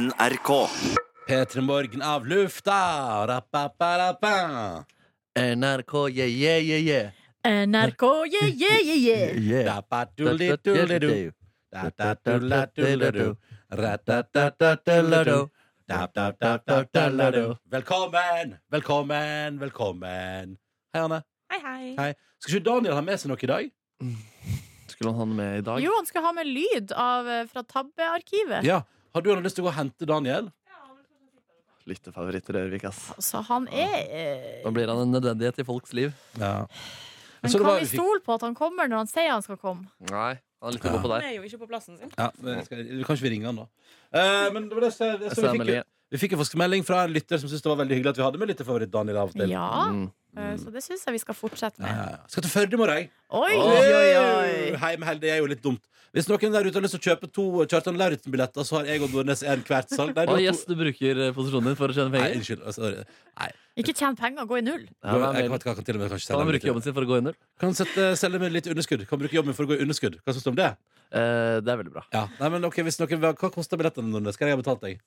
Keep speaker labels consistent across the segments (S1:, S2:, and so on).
S1: NRK.
S2: P3 Morgen av lufta! Rappaparappa.
S3: NRK, Eh, yeah, yeah, yeah, yeah.
S4: NRK, yeah, yeah, yeah, yeah.
S3: yeah.
S2: Dappatullidulidu. Datatulatuladu. Ratatatatuladu. Dapdatatataladu. Velkommen, velkommen, velkommen. Hei, Anne.
S4: Hei, hei.
S2: Hei. Skal ikke Daniel ha med seg noe i dag?
S3: Skulle han ha den med i dag?
S4: Jo, han skal ha med lyd av, eh, fra Tabbearkivet.
S2: Ja. Har du noe lyst til å gå og hente Daniel?
S3: Lyttefavoritt i Rørvik, ass.
S4: Så han er eh,
S3: Nå blir han en nødvendighet i folks liv.
S2: Ja.
S4: Men
S2: Så det
S4: kan
S2: var-
S4: vi stole på at han kommer når han sier han skal komme?
S3: Nei, han er litt god på
S5: Han
S3: deg.
S5: er jo ikke på plassen sin.
S2: Ja, men skal, kanskje vi ringer han, da. Eh, men det var det, så, det,
S3: Jeg
S2: så
S3: ser
S2: vi, fikk, jo-
S3: Amelie.
S2: vi fikk jo faktisk melding fra en lytter som syntes det var veldig hyggelig at vi hadde med lytterfavoritt Daniel av og til.
S4: Ja.
S3: Mm.
S4: eh, Så det syns jeg vi skal fortsette
S2: Ja,
S4: med.
S2: ja, ja. Skal til Førde i morgen.
S4: Oi,
S2: Oi,
S4: oi, oi!
S2: Heimhell, det er jo litt dumt. Hvis noen der ute har lyst til å kjøpe to Kjartan Lauritzen-billetter, så har jeg og Nordnes en hvert salg. Nei, du
S3: Å,
S2: har to-
S3: yes, du bruker eh, posisjonen din for å tjene
S2: Nei,
S3: penger?
S2: unnskyld. altså, sorry.
S4: Ikke tjene penger, gå i
S3: Ja,
S4: null.
S3: det er
S2: jeg
S3: mer-
S2: vet ikke, jeg kan til og med kanskje
S3: Kan
S2: selge
S3: han
S2: den
S3: bruke jobben
S2: litt.
S3: sin for å gå i null?
S2: Kan sette, selge med litt underskudd. Kan bruke jobben for å gå i underskudd. Hva syns du om det?
S3: Eh, det er veldig bra.
S2: Ja. Nei, men ok, hvis noen, vil- Hva koster billettene, Nordnes? Skal jeg ha betalt deg?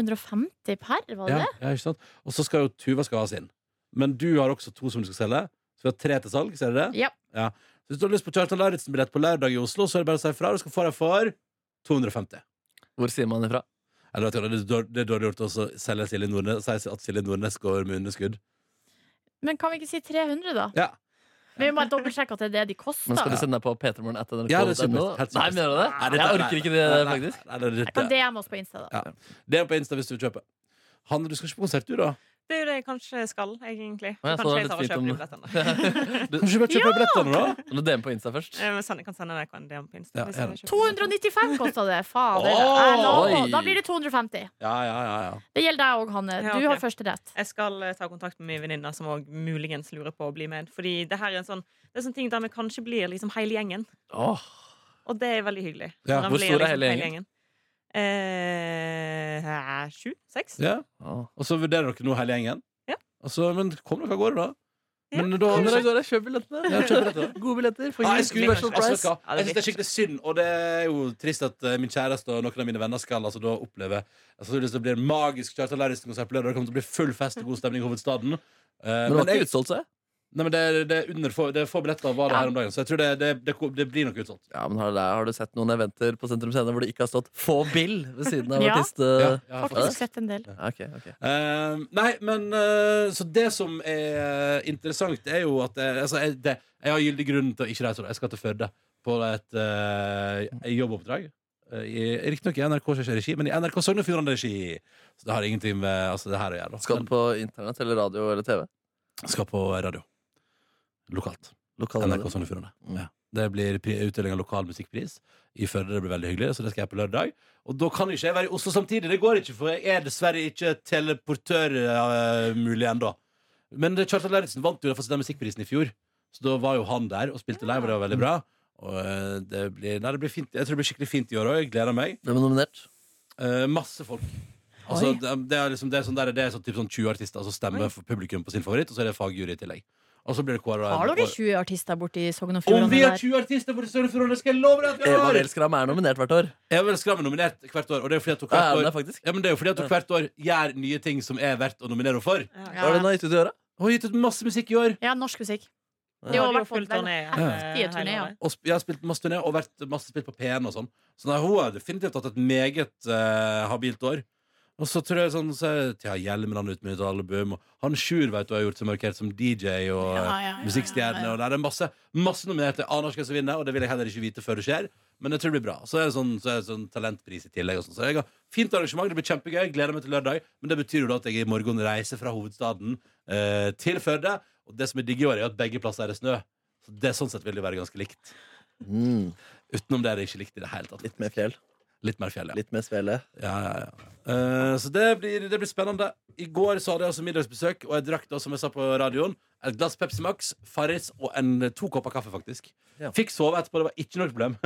S4: 350 per, var det
S2: Ja,
S4: det?
S2: ja, ikke sant? Og så skal jo Tuva skal ha sin. Men du har også to som du skal selge. Så vi har tre til salg, ser du det?
S4: Ja.
S2: Så Hvis du har lyst på Kjartan Lauritzen-billett på lørdag i Oslo, så er det bare å si fra. Du skal få deg for 250.
S3: Hvor sier man ifra?
S2: Eller vet du, hva, det er dår- det er dårlig gjort å så selge Silje Nordnes Si at Silje Nordnes går med underskudd.
S4: Men kan vi ikke si 300, da?
S2: Ja.
S4: Vi må bare dobbeltsjekke at det er det de koster.
S3: Men skal du sende deg på p3morgen etter
S2: Ja, det er supert. Helt supert.
S3: Nei, mener du det?
S2: Nei, dette-
S3: Jeg orker ikke det,
S2: nei, nei,
S3: faktisk.
S2: Nei, nei, det,
S4: Jeg kan DM oss på Insta, da.
S2: Ja. det er på Insta hvis du vil kjøpe. Hanne, du skal ikke på konsert, du, da?
S5: Det er jo det jeg kanskje skal, egentlig.
S3: Ja,
S5: Så
S3: så
S5: kanskje
S3: det er
S5: jeg tar og
S3: litt
S5: kjøper de
S3: fint
S5: billettene.
S2: Kan du ikke bare kjøpe ja! billettene, da?
S3: Nå DM på Insta først.
S5: Eh, men send- Jeg kan sende NRK en DM på Insta.
S2: Ja,
S5: hvis
S2: ja.
S5: jeg kjøper
S4: 295 kosta det! Fader.
S2: Åh,
S4: Jeg lover.
S3: oi.
S4: Da blir det 250.
S2: Ja, ja, ja, ja.
S4: Det gjelder deg òg, Hanne.
S5: Ja,
S4: Du
S5: ok.
S4: har første rett.
S5: Jeg skal eh, ta kontakt med min venninne, som òg muligens lurer på å bli med. Fordi det her er en sånn Det er sånn ting der vi kanskje blir liksom hele gjengen.
S3: Åh,
S5: Og det er veldig hyggelig.
S2: Ja,
S5: Når en
S3: hvor
S5: blir liksom
S3: stor er hele gjengen?
S5: Eh, eh, sju? Seks?
S2: ja.
S3: åh.
S2: Og så vurderer dere nå hele gjengen?
S5: Ja.
S2: Og så, men kom dere av gårde, da.
S5: Ja,
S2: Men da
S3: Kom dere av gårde, kjøp billettene.
S2: Ja, kjøp billetter.
S3: Gode billetter. For
S2: Nei,
S3: jul.
S2: jeg skulle
S3: Special
S2: jeg vet
S3: price.
S2: hva,
S5: Ja,
S2: jeg synes
S5: det blir-
S2: det er skikkelig synd, og det er jo trist at eh, min kjæreste og noen av mine venner skal altså, da oppleve Jeg tror det blir en magisk Kjartan Lauritzen-konsert på lørdag. Det kommer til å bli full fest og god stemning i hovedstaden. Eh,
S3: Men det var
S2: jeg-
S3: ikke utsolgt, så jeg.
S2: Nei, men det, er- det, er under, få- det er få billetter var det
S3: Ja.
S2: her om dagen, så jeg tror det, det, det, det blir nok utsolgt.
S3: Ja, men har, har du sett noen eventer på Sentrum Scene hvor det ikke har stått 'Få Bill' ved siden av
S4: Ja.
S3: artist...
S2: Ja,
S3: eh,
S2: ja,
S4: Faktisk sett en del.
S3: Ja, ok, ok.
S2: Eh, nei, men eh, Så det som er interessant, er jo at jeg, altså, jeg, det, jeg har gyldig grunn til å ikke reise. Jeg skal til Førde på et eh, jobboppdrag. Riktignok i NRK Sjøs regi, men i NRK Sogn og Fjordane regi. Så det har ingenting med altså, det her å gjøre. Da.
S3: Skal den på internett eller radio eller TV?
S2: Men skal på radio. Lokalt.
S3: Lokal
S2: NRK
S3: radio.
S2: Sogn og Fjordane.
S3: Mm.
S2: Ja. Det blir pri- utdeling av lokal musikkpris i Førde. Det blir veldig hyggelig, så det skal jeg på lørdag. Og da kan ikke jeg være i Oslo samtidig. Det går ikke, for jeg er dessverre ikke teleportørmulig ennå. Men det- Kjartan Lauritzen vant jo iallfall den musikkprisen i fjor, så da var jo han der og spilte live, og det var veldig bra. Og eh, det blir, nei, det blir fint. Jeg tror det blir skikkelig fint i år òg. Jeg gleder meg.
S3: Hvem er nominert?
S2: Eh, masse folk. Altså, det, det er liksom, det er sånn, der, det er sånn, typ sånn 20 artister som stemmer for publikum på sin favoritt, og så er det fagjury i tillegg. Og så blir det kåret
S4: Har dere 20 artister borti Sogn og
S2: om
S4: Fjordane
S2: vi har
S4: der?
S2: 20 artister borti Sogn og Fjordane, skal jeg love deg at vi
S3: Eva
S2: har!
S3: Welskram er nominert hvert år.
S2: Jeg er vel skrammen nominert hvert år, og det er jo fordi at hun
S3: Ja,
S2: hvert
S3: det er
S2: år
S3: faktisk.
S2: ja, men det er jo fordi at hun hvert år gjør nye ting som er verdt å nominere henne for.
S3: Hva er det hun har gitt ut i året?
S2: Hun har gitt ut masse musikk i år,
S4: Ja, norsk musikk.
S3: Det
S5: har
S4: var i
S5: jo
S4: hvert fall
S5: fullt
S4: veldig
S5: turné,
S4: heftige
S5: eh, hele
S4: turnéer.
S5: året.
S2: og sp jeg har spilt masse turné og vært masse spilt på P1 og sånn. Så nei, hun har definitivt hatt et meget eh, habilt år. Og så tror jeg sånn så, Tja, Hjelmeland ut med nytt album, og han Sjur vet du har gjort seg markert som DJ og
S4: Ja, ja, ja,
S2: musikkstjerne. Og det er masse, masse nominerte. Jeg aner ikke hvem som vinner, og det vil jeg heller ikke vite før det skjer. Men jeg tror det blir bra. Så er det sånn, så er det sånn talentpris i tillegg. Og sånn. så jeg har Fint arrangement. Det blir kjempegøy. Jeg Gleder meg til lørdag. Men det betyr jo da at jeg i morgen reiser fra hovedstaden eh, til Førde. Og det som er digg i år, er at begge plasser er det snø. Så det sånn sett vil det jo være ganske likt.
S3: Mm,
S2: Utenom det er det ikke likt i det hele tatt.
S3: litt mer fjell.
S2: Litt mer fjell, ja.
S3: Litt mer svele.
S2: Ja, ja, ja. Eh, så det blir, det blir spennende. I går så hadde jeg altså middagsbesøk, og jeg drakk da, som jeg sa på radioen, et glass Pepsi Max, Farris og en, eh, to kopper kaffe, faktisk.
S3: Ja.
S2: Fikk sove etterpå, det var ikke noe problem.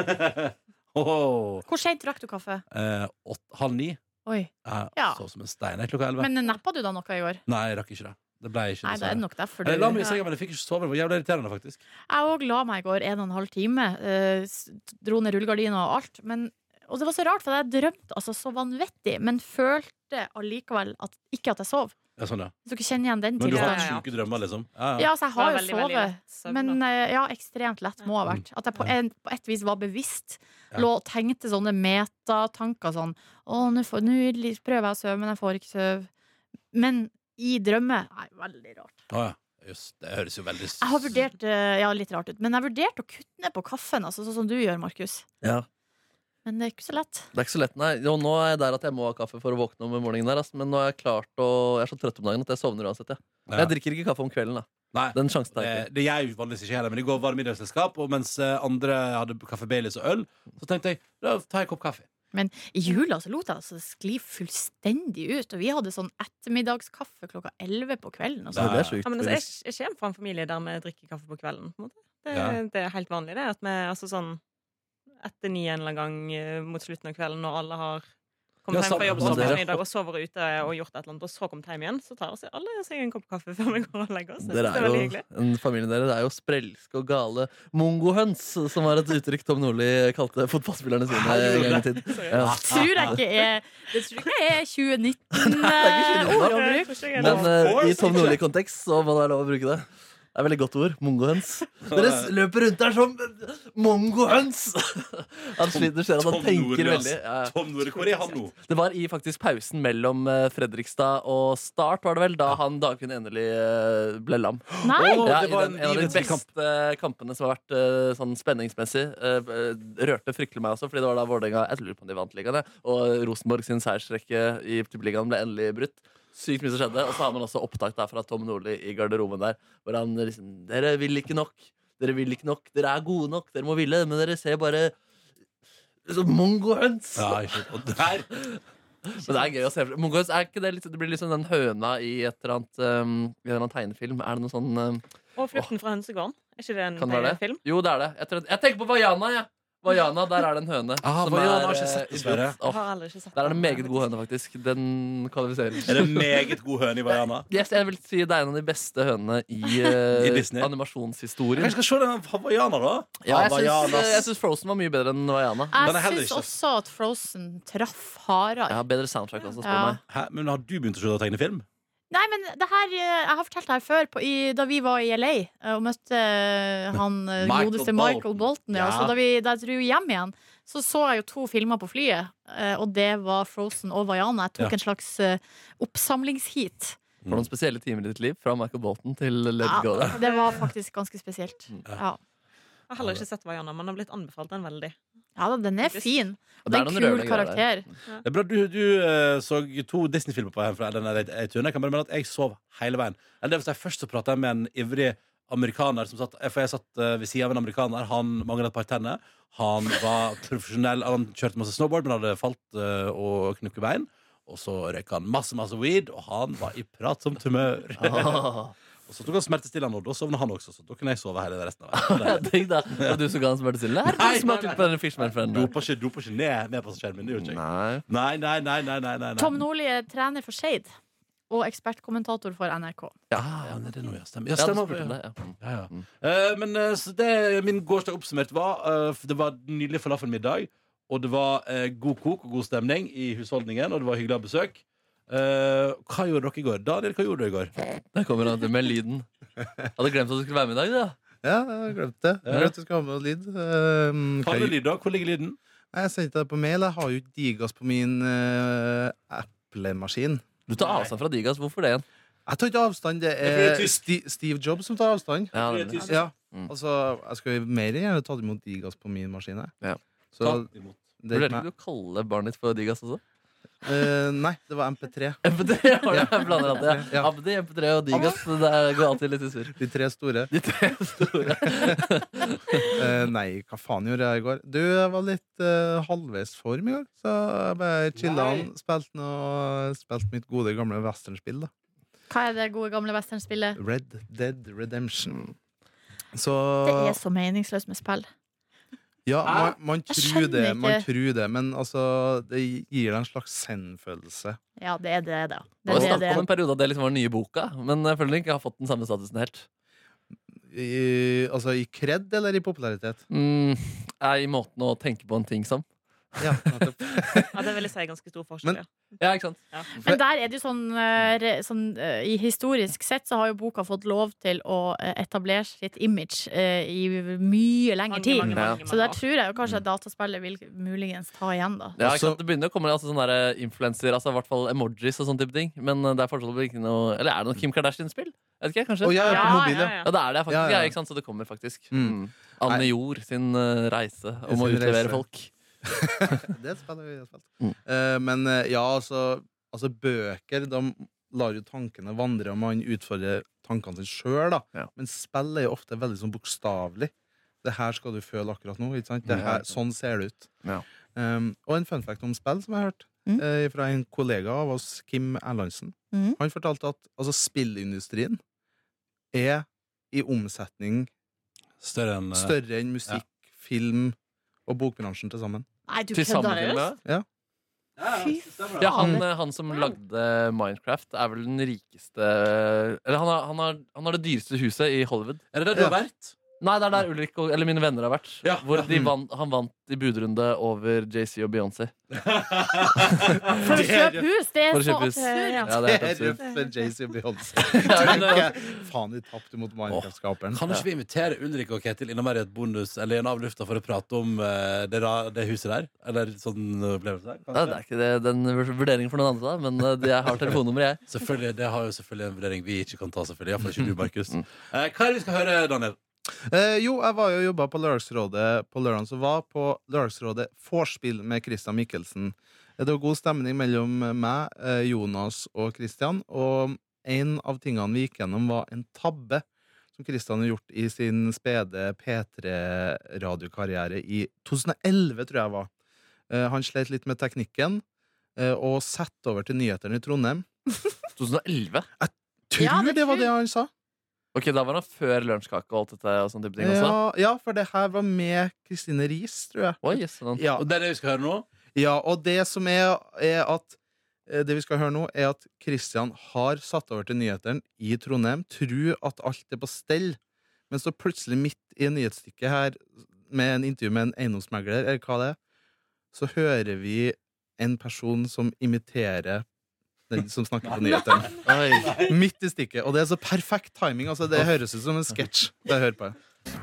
S2: Åhå.
S4: Hvor seint drakk du kaffe?
S2: Eh, åt, halv ni.
S4: Oi.
S2: Jeg
S4: Ja.
S2: sov som en stein jeg, klokka elleve.
S4: Men nappa du da noe i går?
S2: Nei, jeg rakk ikke det. Det ble ikke
S4: Nei, det er
S2: dessverre.
S4: nok derfor du
S2: Jeg la meg i
S4: Jeg
S2: senga, men jeg fikk ikke sove. Det var jævlig irriterende, faktisk.
S4: òg la meg i går en og en halv time. eh, s- Dro ned rullegardina og alt. Men Og det var så rart, for jeg drømte altså så vanvittig, men følte allikevel at, ikke at jeg sov.
S2: Ja, sånn, ja.
S4: Hvis dere kjenner igjen den
S2: Men du har
S5: Ja, ja,
S2: hatt
S4: tilstanden.
S5: ja.
S2: sjuke drømmer, liksom? Ja, ja.
S4: Ja, så jeg
S5: Det var
S4: har jo
S5: veldig, veldig
S4: sovet.
S5: lett søvn,
S4: Men
S5: da.
S4: eh, ja, ekstremt lett må ha vært. At jeg på, en, på et vis var bevisst.
S2: Ja.
S4: Lå og tenkte sånne metatanker sånn Å, nå får- nå li- prøver jeg å sove, men jeg får ikke sove. Men i drømme Nei, veldig rart.
S2: Å, ja. Just, det høres jo veldig s-
S4: Jeg har vurdert eh, Ja, litt rart ut, men jeg har vurdert å kutte ned på kaffen, altså, sånn som du gjør, Markus.
S3: Ja.
S4: Men det er ikke så lett.
S3: Det er ikke så lett, nei. Jo, nå er jeg der at jeg må ha kaffe for å våkne om morgenen. der ass. Men nå er jeg klart å... Jeg er så trøtt om dagen at jeg sovner uansett. Ja.
S2: Ja.
S3: Jeg drikker ikke kaffe om kvelden. da
S2: Nei.
S3: Den sjansen tar
S2: Det,
S3: jeg
S2: Eh, det gjør jeg jo vanligvis ikke heller, men i går var det middagsselskap, og mens eh, andre hadde kaffe Baileys og øl, så tenkte jeg da tar jeg en kopp kaffe.
S4: I jula så lot jeg altså det skli fullstendig ut, og vi hadde sånn ettermiddagskaffe klokka 11 på kvelden. Og
S3: ikke.
S4: sånn.
S3: Nei, Det er sjukt.
S5: Ja, men altså, jeg, jeg kommer fra en familie der vi drikker kaffe på kvelden. På en måte. Det,
S2: Ja.
S5: det er helt vanlig, det. At vi altså sånn etter ni en eller annen gang eh, mot slutten av kvelden, når alle har
S2: Ja,
S5: kommet hjem
S2: sammen
S5: fra jobb
S3: med
S5: sover
S3: dere.
S5: en middag, og sover ute og gjort et eller annet, og så kommet hjem igjen, så tar oss alle seg en kopp kaffe før vi går og legger oss. Jeg
S3: Dere er
S5: synes det er veldig
S3: jo,
S5: hyggelig.
S3: en familie dere det er jo sprelske og gale mongohøns, som var et uttrykk Tom Nordli kalte fotballspillerne sine en gang i tid.
S5: Sorry.
S3: Ja.
S4: Tror jeg ikke er Det tror jeg ikke er
S3: er ikke
S4: 2019
S3: 2019,
S4: eh,
S3: da.
S4: ordbruk.
S5: Jeg tror ikke jeg er
S3: Men
S5: det.
S3: eh, i Tom Nordli-kontekst så må det være lov å bruke det. Det er veldig godt ord. Mongohøns. Dere s- løper rundt der som mongohøns! Han sliter, du ser at
S2: Tom
S3: han tenker
S2: Nordli, ass.
S3: veldig. Ja.
S2: Tom Nordli, hvor er han nå?
S3: Det var i faktisk pausen mellom eh, Fredrikstad og Start, var det vel, da han Dagfinn endelig eh, ble lam.
S4: Nei!
S2: Å,
S3: Ja,
S2: det
S3: i
S2: var
S3: den, en av de
S2: livets
S3: beste
S2: kamp.
S3: kampene som har vært eh, sånn spenningsmessig. eh, eh, rørte fryktelig meg også, fordi det var da Vålerenga Jeg lurer på om de vant ligaen, jeg. Og Rosenborg sin seiersrekke i Tippeligaen ble endelig brutt. Sykt mye som skjedde. Og så har man også opptak der fra Tom Nordli i garderoben der, hvor han liksom Dere vil ikke nok. Dere vil ikke nok. Dere er gode nok. Dere må ville, men dere ser bare som mongohøns.
S2: Ja, ikke sant. Og der
S3: Men det er gøy å se for Mongols, er ikke det, litt, det blir liksom den høna i et eller annet, um, i en eller annen tegnefilm. Er det noe sånn um,
S5: Og 'Flukten fra hønsegården'. Er ikke det en eh,
S3: Kan det være det?
S5: film?
S3: Jo, det er det. Jeg, tror, jeg tenker på Vaiana, jeg. Vaiana, der er det en høne.
S2: Ah,
S3: som
S2: Vaiana
S3: er,
S2: har jeg ikke sett,
S3: eh,
S2: dessverre.
S3: idiot. Åh,
S5: Jeg har heller ikke sett
S3: der er det
S5: den.
S3: en meget god høne, faktisk. Den kvalifiserer.
S2: er det meget god høne i Vaiana.
S3: Yes, jeg vil si det er en av de beste hønene i,
S2: I
S3: eh,
S2: Disney. Ah,
S3: animasjonshistorien.
S2: Jeg skal se den Havaiana, da.
S3: Ja, jeg syns,
S2: Havaianas.
S3: eh, jeg syns Frozen var mye bedre enn Vaiana.
S2: Den er
S4: Jeg
S2: heller
S4: syns
S2: ikke-
S4: også at Frozen traff hardere.
S3: Ja, bedre soundtrack også, spør
S4: Ja.
S3: meg.
S2: Hæ? Men har du begynt å se tegnefilm?
S4: Nei, men det her eh, Jeg har fortalt det her før, på, i, da vi var i LA eh, og møtte eh, han eh,
S2: Michael
S4: godeste
S2: Bolton.
S4: Michael Bolton. Ja.
S2: Ja.
S4: Så da, vi, da jeg dro hjem igjen, så så jeg jo to filmer på flyet, eh, og det var Frozen og Vaiana. Jeg
S2: Ja.
S4: tok en slags eh, oppsamlingsheat.
S3: For noen spesielle timer i ditt liv, fra Michael Bolton til Let It Go.
S4: Ja,
S3: Der.
S4: Ah, det var faktisk ganske spesielt. Ja.
S5: Jeg har heller ikke sett Vaiana, men har blitt anbefalt den veldig.
S4: Ja da, den er fin. Og
S3: Det
S4: det
S3: er
S4: er
S3: noen
S4: en kul
S3: rørende greier
S4: karakter.
S2: Det er bra, Du, du eh, så to Disney-filmer på her fra denne re- turen. Jeg kan bare melde at jeg sov hele veien. Eller det vil si, først så prata jeg med en ivrig amerikaner, som satt, eh, for jeg satt eh, ved sida av en amerikaner. Han mangla et par tenner. Han var profesjonell, han kjørte masse snowboard, men hadde falt eh, og knukket bein. Og så røyka han masse masse weed, og han var i pratsomt humør.
S3: Ah,
S2: og så tok han smertestillende, og da sovna han også, så da kunne jeg sove hele resten av veien. Det-
S3: Digg, da. Og du som ga han smertestillende? Her,
S2: Nei,
S3: Du smaker
S2: nei,
S3: på den fishman-frienden.
S2: Dopa eh, ikke, dopa ikke ned med passasjeren min. Det gjorde ikke jeg.
S3: Nei.
S2: Nei, nei, nei. nei, nei, nei.
S4: Tom Nordli er trener for Skeid og ekspertkommentator for NRK.
S3: Ja,
S2: Ja, det er det nå, ja. Stemmer.
S3: ja,
S2: Ja,
S3: du
S2: stemmer.
S3: spurte om
S2: ja.
S3: det. Ja.
S2: Ja, ja. Eh, men eh, så det min gårsdag oppsummert var eh, f- Det var nydelig falafelmiddag, og det var eh, god kok og god stemning i husholdningen, og det var hyggelig å ha besøk. Eh, hva gjorde dere i går? Daniel, hva gjorde du i går?
S3: Der kommer han til med lyden. Hadde glemt at du skulle være med i dag. Da.
S1: Ja, jeg glemte det. Jeg glemte du skulle ha med lyd. Ehm,
S2: Ta
S1: hva-
S2: med lyd, da. Hvor ligger lyden?
S1: Nei, jeg sendte deg på mail. Jeg har jo ikke digas på min uh, Apple-maskin.
S3: Du tar avstand fra Digas. Hvorfor det igjen?
S1: Jeg tar ikke avstand. Det
S2: Det er fordi
S1: er
S2: du er tysk.
S1: Sti Steve Jobs som tar avstand.
S3: Ja,
S2: Det er
S3: nemlig.
S2: tysk.
S1: Ja,
S3: Mm.
S1: altså Jeg skulle mer enn gjerne tatt imot digas på min maskin. jeg.
S3: Ja.
S1: Så
S2: Ta imot.
S1: det er
S3: Vurderte
S1: ikke meg.
S3: ikke du å kalle barnet ditt for Digas også?
S1: Eh, nei, det var MP3.
S3: MP3 var det jeg blander alltid. Ja.
S1: Ja.
S3: Abdi, MP3 og Digas. Det der går alltid litt i surr.
S1: De tre store.
S3: De tre store.
S1: Eh, nei, hva faen gjorde jeg i går? Du, jeg var litt eh, halvveis form i går. Så jeg bare chilla
S2: Nei.
S1: an, spilte noe- spilte mitt gode, gamle westernspill. da
S4: Hva er det gode gamle westernspillet?
S1: Red Dead Redemption. Så
S4: Det er så meningsløst med spill.
S1: Ja, man, man,
S4: Jeg
S1: tror
S4: skjønner
S1: det, man
S4: ikke.
S1: tror det, men altså Det gir deg en slags zen-følelse.
S4: Ja, det er det, da.
S3: Det var
S4: Det er det,
S3: snakk om
S4: det.
S3: en periode at det liksom var den nye boka, men jeg føler den ikke har fått den samme statusen helt.
S1: I- Altså i kred eller i popularitet?
S3: Mm, er I måten å tenke på en ting som.
S1: Ja, nettopp.
S5: Ja, det vil jeg si er ganske stor
S1: Men-
S5: forskjell. ja.
S3: Ja, ikke sant?
S4: Men der er det jo sånn, eh, re- sånn eh, i Historisk sett så har jo boka fått lov til å eh, etablere sitt image eh, i mye lengre tid.
S5: Mange, mange,
S3: Ja.
S5: mange, mange
S4: Så der
S5: år.
S4: tror jeg jo kanskje Sånn at dataspillet vil muligens ta igjen, da.
S3: Ja,
S1: Også-
S3: ikke sant? Det begynner å komme altså, sånne der, eh, influencer, altså, i hvert fall emojis og sånne type ting. Men eh, det er fortsatt ikke noe Eller er det noe Kim Kardashian-spill? Jeg vet ikke, kanskje?
S1: Og jeg er på
S5: Ja,
S1: mobil, ja.
S5: ja, ja.
S3: Ja, det er det faktisk.
S1: Ja,
S3: Ja,
S1: ja.
S3: ikke sant? Så det kommer faktisk.
S1: Mm.
S3: Mm. Anne Jord sin eh, reise om å
S1: Sin
S3: utlevere
S1: reise.
S3: folk.
S1: Det spiller vi spilt.
S3: Mm.
S1: Eh, men eh, ja, altså, altså Bøker de lar jo tankene vandre, og man utfordrer tankene sine sjøl. da.
S3: Ja.
S1: Men spill er jo ofte veldig sånn bokstavelig. Det her skal du føle akkurat nå. ikke sant? Det
S3: Ja,
S1: her,
S3: ikke
S1: sånn ser det ut.
S3: Ja.
S1: Um, og en fun fact om spill som jeg har hørt
S4: Mm.
S1: eh, fra en kollega av oss, Kim Erlandsen.
S4: Mm.
S1: Han fortalte at altså, spillindustrien er i omsetning
S2: Større enn eh,
S1: større enn musikk, film og bokbransjen til sammen.
S4: Nei, du
S3: Til
S4: kødder
S3: sammenligning med-
S4: Fy
S2: stemmer det.
S3: Ja, han,
S4: Faen.
S3: eh, han som lagde Minecraft, er vel den rikeste Eller han har, han har, han har det dyreste huset i Hollywood.
S2: Er det det du har vært?
S3: Nei, det er der Ulrik og, eller mine venner har vært.
S2: Ja.
S3: Hvor de
S1: Mm.
S3: vant, han vant i budrunde over JC og Beyoncé.
S4: For å kjøpe hus! Det
S3: For å
S4: er så
S3: kjøpe hus.
S4: absurd!
S3: Ja, det er
S1: Det
S3: helt
S1: er
S3: absurd.
S1: røft for Jay-Z og Beyoncé.
S3: Ja,
S1: Tenk, eh, Faen, vi tapte mot Minecraft-skaperen.
S2: Kan ikke vi invitere Ulrik og Ketil innom her i et bonus eller en avlufta for å prate om eh, det, ra- det huset der? Eller sånn opplevelse der?
S3: Nei, det er ikke det, den vurderingen for noen andre, da, men eh, det- jeg har telefonnummeret, jeg.
S2: Selvfølgelig, Det har jo selvfølgelig en vurdering vi ikke kan ta. selvfølgelig Iallfall ikke du, Markus. Eh, hva er det vi skal høre, Daniel?
S1: Eh, jo, jeg var jo og jobba på Lørdagsrådet på lørdagen som var, på Lørdagsrådet Vorspiel med Christian Mikkelsen. Eh, Det var god stemning mellom meg, eh, Jonas og Christian, og en av tingene vi gikk gjennom, var en tabbe som Christian har gjort i sin spede P3-radiokarriere i 2011, tror jeg var. Eh, han slet litt med teknikken, eh, og satte over til nyhetene i Trondheim.
S3: 2011.
S1: Tror
S4: Ja,
S1: det,
S4: det
S1: var
S4: tror-
S1: det han sa.
S3: Ok, Da var han før lunsjkake og alt dette. og sånne type ting også.
S1: Eh, Ja, ja, for det her var med Kristine Riis, tror jeg.
S3: Oi, yes, sånn.
S1: Ja,
S2: Og det er det vi skal høre nå?
S1: ja og det som er, er at eh, Det vi skal høre nå, er at Kristian har satt over til nyhetene i Trondheim, tror at alt er på stell, men så plutselig, midt i nyhetsstikket her, med en intervju med en eiendomsmegler, eller hva det er, så hører vi en person som imiterer den som snakker på nyhetene.
S3: Oi.
S1: Midt i stikket. Og det er så perfekt timing. Altså, det høres ut som en sketsj. Det jeg hører på.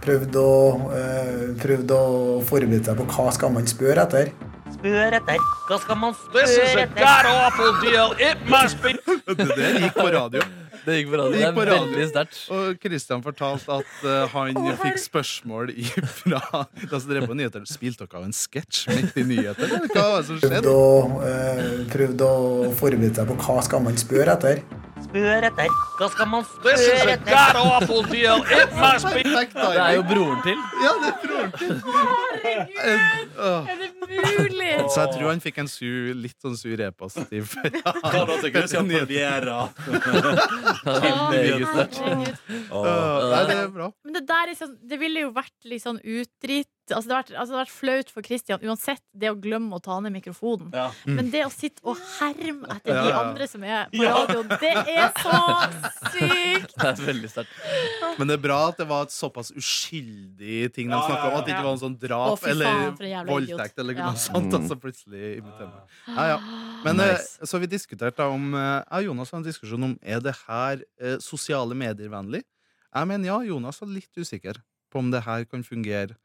S6: Prøvd å, eh, prøvd å forberede seg på hva skal man spørre etter.
S7: Spør etter. Hva skal man
S8: This is
S7: spørre
S8: a
S7: etter?
S8: god awful deal. It must be.
S1: Det der gikk på radio.
S3: Det gikk på radio.
S1: Det
S3: Det er
S1: gikk på radio.
S3: veldig sterkt.
S1: Og Kristian fortalte at eh, han fikk spørsmål i- fra de som drev på nyheter. Spilte dere av en sketsj midt i nyheter? Eller hva var det som
S6: Prøvd
S1: skjedde?
S6: å, eh, prøvd å forberede seg på hva skal man spørre etter.
S7: Spør etter. Hva skal man
S8: This is
S7: spørre
S8: a
S7: etter?
S8: god awful deal. It must be.
S1: Perfekt
S3: Det er jo
S1: timing.
S3: broren til.
S1: Ja, det er broren til. Eh, åh.
S4: Er det mulig?
S1: Så jeg tror han fikk en sur, litt sånn sur e-post. i-
S2: Hva da, tenker du? Skal
S1: Nyheter.
S2: parodiere?
S3: Ja, det er veldig sterkt.
S4: Herregud.
S1: Åh, Nei, det er bra.
S4: Men det der er sånn, det ville jo vært litt sånn utdritt Altså det, hadde vært, altså det hadde vært flaut for Christian uansett det å glemme å ta ned mikrofonen.
S2: Ja.
S3: Mm.
S4: Men det å sitte og herme etter
S1: Ja,
S4: de
S1: ja.
S4: andre som er på radioen, det er så sykt!
S3: Det er veldig sterkt.
S1: Men det er bra at det var et såpass uskyldig ting de snakka om. At det ikke var en sånn
S4: Å,
S1: drap
S4: fy faen,
S1: eller
S4: for en jævla idiot.
S1: voldtekt eller
S4: Ja.
S1: noe sånt. Og så plutselig imiterer man. Ja, ja. Men, eh, Så vi diskuterte da om eh, Jeg og Jonas hadde en diskusjon om Er det her eh, sosiale medier vennlig. Jeg mener ja, Jonas var litt usikker på om det her kan fungere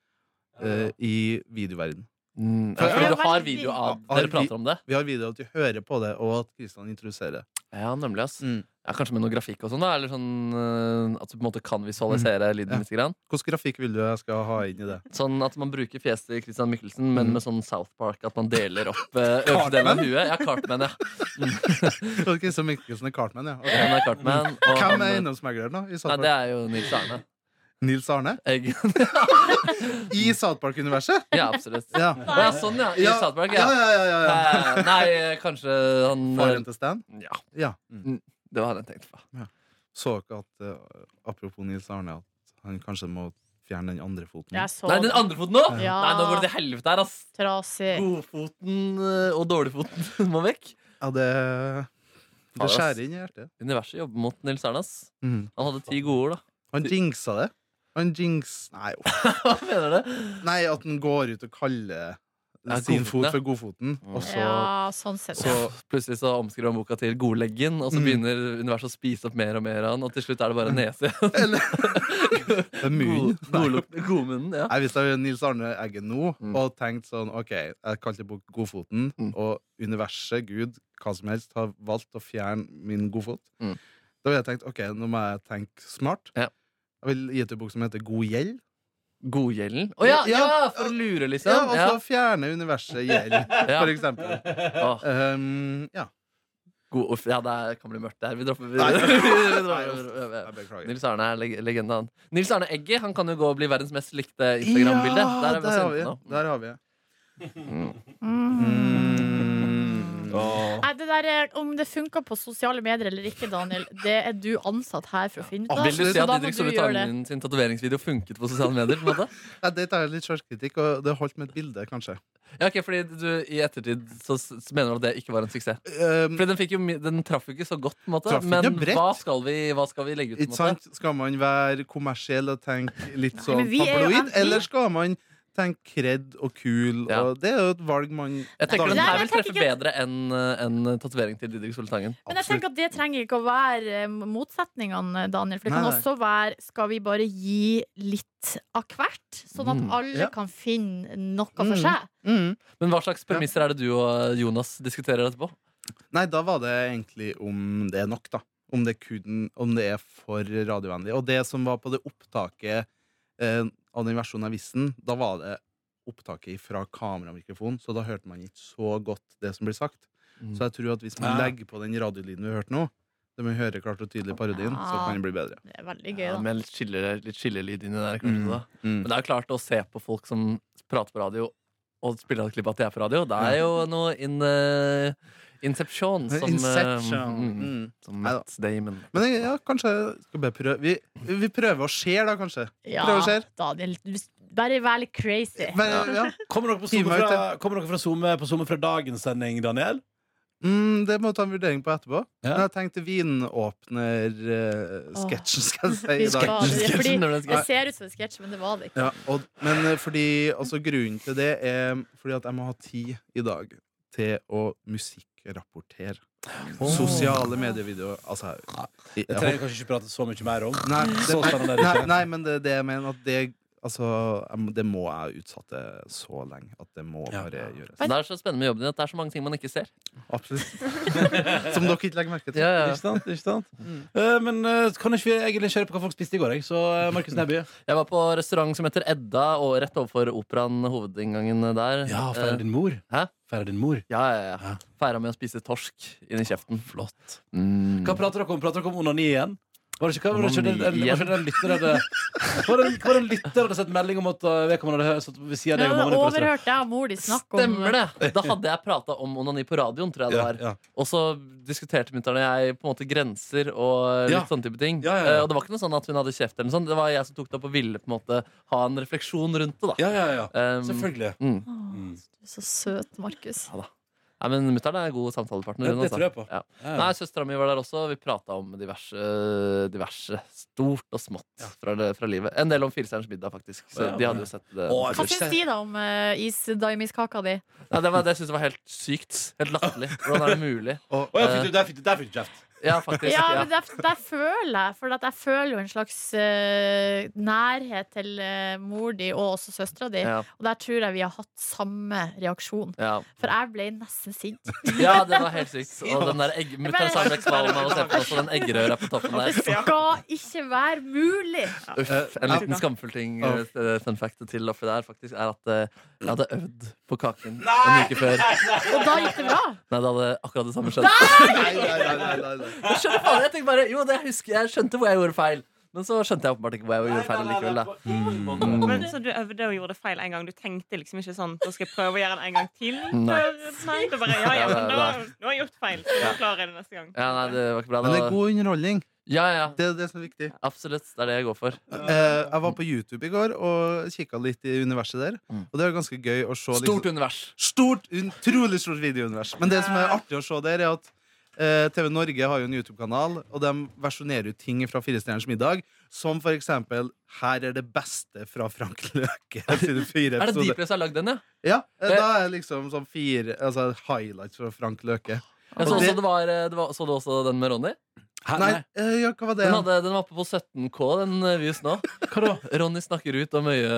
S1: eh, i videoverden.
S3: Mm, ja, fordi du har video av
S1: Har vi-
S3: dere prater om det?
S1: Vi har videoer at vi hører på det, og at Kristian introduserer.
S3: Ja, nemlig. ass
S1: Mm.
S3: ja, Kanskje med noe grafikk og sånn? da Eller sånn eh, At du på en måte kan visualisere
S1: Ja.
S3: lyden litt? Grann.
S1: Hvilken grafikk vil du jeg skal ha inn i det?
S3: Sånn at man bruker fjeset til Christian Michelsen, men
S1: Mm.
S3: med sånn South Park. At man deler opp eh, øverste delen av huet. Ja, Cartman, ja.
S1: Kristian Mikkelsen er Cartman, ja.
S3: ja
S1: ok.
S3: han Mm. er Cartman og
S1: Hvem
S3: han,
S1: er eiendomsmegleren, da? I
S3: Nei,
S1: South
S3: det
S1: Park?
S3: er jo Nils Arne.
S1: Nils Arne?
S3: Egg.
S1: I South Park-universet?
S3: Ja, absolutt.
S1: Ja.
S3: Å, ja, sånn, ja. I
S1: Ja,
S3: South Park,
S1: ja,
S3: ja.
S1: ja, ja, ja.
S3: Eh, Nei, eh, kanskje han eh,
S1: Faren til Stan?
S3: Ja,
S1: Ja. Mm.
S3: det var han jeg tenkte på.
S1: Så dere at eh, Apropos Nils Arne, at han kanskje må fjerne den andre foten?
S4: Jeg så
S3: Nei, den andre foten nå!
S4: Ja.
S3: Nei, nå går det til helvete her, ass.
S4: trasig.
S3: Godfoten eh, og dårligfoten må vekk.
S1: Ja, det, det
S3: Fader, ass.
S1: skjærer inn i hjertet.
S3: Universet jobber mot Nils Arne, ass.
S1: Mm.
S3: Han hadde ti gode ord, da.
S1: Han jinxa det. Han jinx... Nei, uff.
S3: Hva mener du?
S1: Nei, at han går ut og kaller eh,
S3: Ja,
S1: sin
S3: godfotene.
S1: fot for godfoten, og så
S4: Ja, sånn sett.
S1: så
S3: Plutselig så omskriver han boka til godleggen, og så
S1: Mm.
S3: begynner universet å spise opp mer og mer av han, og til slutt er det bare nese igjen.
S1: er munnen.
S3: God- godluk- Godmunnen, ja.
S1: Jeg visste det Nils Arne Eggen nå,
S3: Mm.
S1: og tenkte sånn OK, jeg kalte bok Godfoten,
S3: Mm.
S1: og universet, Gud, hva som helst, har valgt å fjerne min godfot.
S3: Mm.
S1: Da ville jeg tenkt OK, nå må jeg tenke smart.
S3: Ja.
S1: Jeg vil gi ut en bok som heter God gjeld.
S3: Godgjelden. Å ja, ja,
S1: Ja.
S3: for å lure,
S1: Ja,
S3: liksom.
S1: og
S3: Ja,
S1: så fjerne universet gjeld,
S3: Ja.
S1: for eksempel.
S3: Åh,
S1: Um, ja.
S3: god, uff, ja det er- kan bli mørkt der. Vi dropper
S1: Nei.
S3: vi- vi dropper-
S1: Jeg beklager.
S3: Nils Arne er leg legende, han. Nils Arne Egge han kan jo gå og bli verdens mest likte Instagram-bilde. Der er vi
S1: der har
S3: også
S1: vi
S3: inne nå.
S1: Der har vi.
S4: Mm.
S1: Mm.
S4: Nei, det der er, Om det funker på sosiale medier eller ikke, Daniel, det er du ansatt her for å finne ut av.
S3: Vil du si
S4: så
S3: at
S4: da må
S3: Didrik
S4: du gjøre det.
S3: Solitangen sin tatoveringsvideo funket på sosiale medier? på en måte?
S1: Nei, det tar jeg litt sjølkritikk, og det holdt med et bilde, kanskje.
S3: Ja, ok, fordi du i ettertid så s- s- mener du at det ikke var en suksess.
S1: Um,
S3: Fordi den, fikk jo, mi- den traff jo ikke så godt, på en måte.
S1: Traff ikke
S3: Men
S1: bredt.
S3: hva skal, vi, hva skal vi legge ut? på en
S1: ikke
S3: måte?
S1: sant? Skal man være kommersiell og tenke litt
S4: Nei,
S1: sånn
S4: men vi er jo
S1: tabloid,
S4: anti-
S1: eller skal man tenke kred og kul?
S3: Ja.
S1: Og det er jo et valg man
S3: Jeg tenker
S4: Nei,
S3: den her
S4: jeg
S3: vil treffe
S4: tenker
S3: bedre enn en tatovering til Didrik Soltangen.
S4: Men jeg tenker at det trenger ikke å være eh, motsetningene, Daniel. For det
S1: Nei,
S4: kan
S1: nei.
S4: også være Skal vi bare gi litt av hvert, sånn at
S3: Mm.
S4: alle
S1: Ja.
S4: kan finne noe for
S1: Mm.
S4: seg?
S1: Mm.
S3: Men hva slags premisser er det du og Jonas diskuterer etterpå?
S1: Nei, da var det egentlig om det er nok, da. Om det, kun, om det er for radiovennlig. Og det som var på det opptaket eh, av den versjonen av Vissen, da var det opptaket fra kameramikrofonen, så da hørte man ikke så godt det som blir sagt.
S3: Mm.
S1: Så jeg tror at hvis man
S2: Ja.
S1: legger på den radiolyden vi hørte nå, det man hører klart og tydelig i parodien, så
S4: Ja.
S1: kan det bli bedre.
S4: Det er veldig gøy,
S3: Ja,
S4: da.
S3: med litt chillere- litt chillelyd inni der, kanskje.
S1: Mm.
S3: da.
S1: Mm.
S3: Men det er jo klart å se på folk som prater på radio, og spiller et klipp av at de er på radio. Det er jo noe in, eh, Inception som, eh, mm,
S1: Mm.
S3: som
S1: Neida.
S3: Matt Damon.
S1: Men jeg- ja, kanskje skal bare prøve. Vi, vi prøver å se, da, kanskje.
S4: Ja,
S1: Prøv å se.
S4: Daniel, du- bare vær litt crazy.
S1: Men, ja.
S2: Kommer dere, på
S1: Hiv
S2: Zoom
S1: meg ut,
S2: fra, kommer dere fra Zoom, eh, på Zoom fra dagens sending, Daniel?
S1: Mm, det må vi ta en vurdering på etterpå.
S2: Ja.
S1: Men jeg tenkte vinåpner-sketsjen, skal jeg
S4: Vi
S1: si. i dag.
S4: skal- det er fordi
S3: Sketsjen, når det skal-
S4: Det ser ut som en sketsj, men det var det ikke.
S1: Ja, og, men eh, fordi, altså, grunnen til det er fordi at jeg må ha tid i dag til å musikkrapportere. Sosiale medievideoer. Altså, jeg,
S2: Det
S1: jeg,
S2: trenger jeg kanskje ikke prate så mye mer om.
S1: nei,
S2: Så spennende er
S1: det,
S2: det
S1: nei,
S2: ikke.
S1: nei, men det er det jeg mener. At det, altså, jeg, må- det må jeg utsette så lenge. At det må
S2: Ja.
S1: bare gjøres.
S3: Så Det er så spennende med jobben din at det er så mange ting man ikke ser.
S1: Absolutt. Som dere ikke legger merke til.
S3: Ja, ja.
S2: Ikke sant? Ikke sant? Eh, men eh, kan ikke vi egentlig kjøre på hva folk spiste i går, jeg? Så eh, Markus Neby.
S3: Jeg var på restaurant som heter Edda, og rett overfor operaen, hovedinngangen der.
S2: Ja,
S3: Eh,
S2: feire din mor.
S3: Hæ?
S2: Feire din mor.
S3: Ja, ja, ja.
S2: Ja.
S3: Feira med å spise torsk inn i kjeften.
S2: Flott.
S3: Mm.
S2: Hva prater dere om? Prater dere om onani igjen? Var det ikke, hva, var det ikke den,
S3: Onani
S2: den, var det den lytter hadde Var det var det en lytter hadde sett melding om at eh, vedkommende hadde hørt- satt ved siden av deg og mamma
S4: Men
S2: din på restaurant?
S4: overhørte jeg og mor di snakke om
S3: Stemmer det! Da hadde jeg prata om onani på radioen, tror jeg det
S2: Ja,
S3: var.
S2: ja.
S3: Og så diskuterte mutter'n og jeg på en måte grenser og litt
S2: Ja.
S3: sånne type ting.
S2: Ja, ja, ja.
S3: Eh, Og det var ikke noe sånn at hun hadde kjeft, eller noe sånt. det var jeg som tok det opp og ville på en måte ha en refleksjon rundt det. da
S2: Ja, ja, ja.
S3: Um,
S2: Selvfølgelig.
S3: Mm.
S4: Åh, Du er så søt, Markus.
S3: Nei, men mutter'n er en god samtalepartner.
S2: Det,
S3: hun,
S2: det
S3: altså.
S2: tror jeg på. Ja,
S3: Ja.
S2: ja.
S3: Nei, Søstera mi var der også. Vi prata om diverse, diverse. Stort og smått fra, det- fra livet. En del om Firestjerners middag, faktisk. Så
S2: Ja,
S3: de
S2: ja.
S3: hadde jo sett det.
S2: Å,
S4: Hva syns de da om uh, isdaimiskaka di?
S3: Nei, det, var, det synes jeg var helt sykt. Helt latterlig. Hvordan er det mulig?
S1: Og, eh,
S2: Å, ja, fikk du, der fikk du der fikk du kjeft.
S3: Ja, faktisk.
S4: Ja,
S3: ja.
S4: men der, der føler jeg For at jeg føler jo en slags eh, nærhet til eh, mor di og også søstera di.
S3: Ja.
S4: Og der tror jeg vi har hatt samme reaksjon.
S3: Ja.
S4: For jeg ble nesten sint.
S3: ja, det var helt sykt. Og den der egg... Mutter'n sa med kvalm av å se på den, så den eggerøra på toppen
S4: Det
S3: der.
S4: skal ikke være mulig!
S3: Uff, en liten skamfull ting
S1: Ja.
S3: eh, fun fact til oppi der faktisk er at eh, jeg hadde øvd på kaken en uke før.
S4: Og da gikk det bra.
S3: Nei, det hadde akkurat det samme skjedd.
S1: nei, nei, nei, nei, nei.
S3: Jeg skjønner faen, jeg tenkte bare, jo, det jeg husker, jeg skjønte hvor jeg gjorde feil. Men så skjønte jeg åpenbart ikke hvor jeg gjorde feil likevel. Da.
S5: Men så du øvde og gjorde feil en gang? Du tenkte liksom ikke sånn Da skal jeg prøve å gjøre det en gang til?
S3: Nei.
S5: For- Nei, da bare, ja, ja, men da, nå har jeg gjort feil. Så nå klarer jeg det neste gang.
S3: Ja, nei, det var ikke bra.
S1: Men det
S3: da.
S1: er god underholdning.
S3: Ja, ja,
S1: Det er det som er viktig.
S3: absolutt. Det er det jeg går for.
S1: Eh, jeg var på YouTube i går og kikka litt i universet der.
S3: Mm.
S1: Og det er ganske gøy å se liksom,
S3: Stort univers.
S1: stort, utrolig stort videounivers. Men det som er artig å se der, er at Eh, TV Norge har jo en YouTube-kanal, og de versjonerer jo ting fra Firestjerners middag. Som for eksempel 'Her er det beste fra Frank Løke'. sine fire
S3: Er det
S1: episoder.
S3: de som har lagd den, ja?
S1: Ja, eh,
S3: Det-
S1: Da er det liksom sånn fire altså, highlights fra Frank Løke.
S3: Jeg så,
S1: Og det-
S3: også det var, eh, det var, så du også den med Ronny?
S2: Hæ,
S1: Nei, eh, ja, hva var det?
S3: Den, hadde, den var oppe på 17K, den eh, views nå. Hva da? Ronny snakker ut om øye...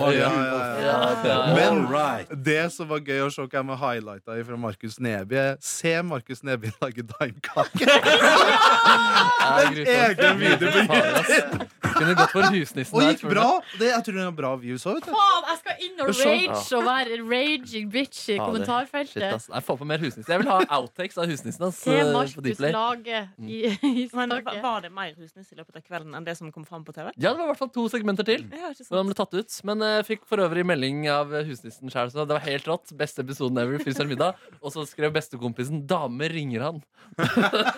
S2: Å,
S1: ja,
S3: øya.
S1: ja, ja.
S3: Ja,
S1: Men-
S3: ja, ja.
S2: All right.
S1: Det som var gøy å se hvem jeg highlighta fra Markus Neby Se Markus Neby lage daimkake!
S3: Ja,
S1: en
S3: grusomt.
S1: egen video på
S3: Faen, ass. Kunne gått for husnissen
S1: Og
S3: der,
S1: gikk
S3: tror du.
S1: bra! Det, jeg tror den har bra views òg, vet du.
S4: Faen, jeg skal inn og
S3: Det er sånn.
S4: rage og være en raging bitch i
S3: Ja, det- Shit,
S4: kommentarfeltet.
S3: ass. Nei, få på mer husnissen. Jeg vil ha outtakes av husnissen hans.
S4: Se
S3: eh, på
S4: Markus
S3: Dplay. Mm.
S4: lage i, i
S5: Men
S4: staket.
S5: var det mer Husnes i løpet av kvelden enn det som kom fram på TV?
S3: Ja, det var i hvert fall to segmenter til.
S5: Ja, ikke
S3: Hvor han ble
S5: sant?
S3: tatt ut Men jeg fikk for øvrig melding av husnissen sjøl. Det var helt rått. Beste episoden ever. Fyrstjern middag. Og så skrev bestekompisen 'Dame ringer han'.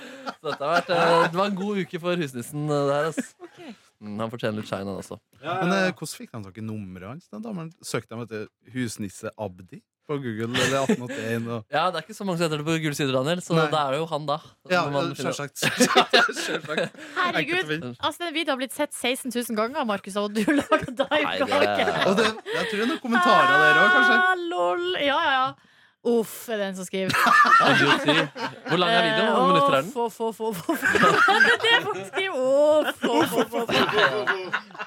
S3: så dette har vært, eh, det var en god uke for husnissen. eh, Det her, ass.
S5: Ok.
S3: Mm, han fortjener litt shine, han også.
S1: Men eh, hvordan fikk de tak i nummeret hans? Den damen Søkte de etter husnisse Abdi på Google eller 1881? Og...
S3: Ja, Det er ikke så mange som heter det på gule sider, Daniel, så
S1: Nei.
S3: da er det jo han, da.
S1: Ja,
S3: Når man finner-
S1: selvsagt. Selvsagt. Enkelt å
S4: Herregud.
S1: finne.
S4: Altså, den videoen har blitt sett 16 000 ganger, Markus, og du lager daimkake.
S3: Nei,
S1: Og det, jeg tror det er noen kommentarer der òg, kanskje.
S4: Ah, lol. Ja, ja, ja. Uff, er den som skriver. Eh,
S3: Idioti. Hvor lang er videoen? Hvor mange minutter er den?
S4: Uff, uff, uff, uff. Det er det folk skriver. Uff, uff, uff, uff.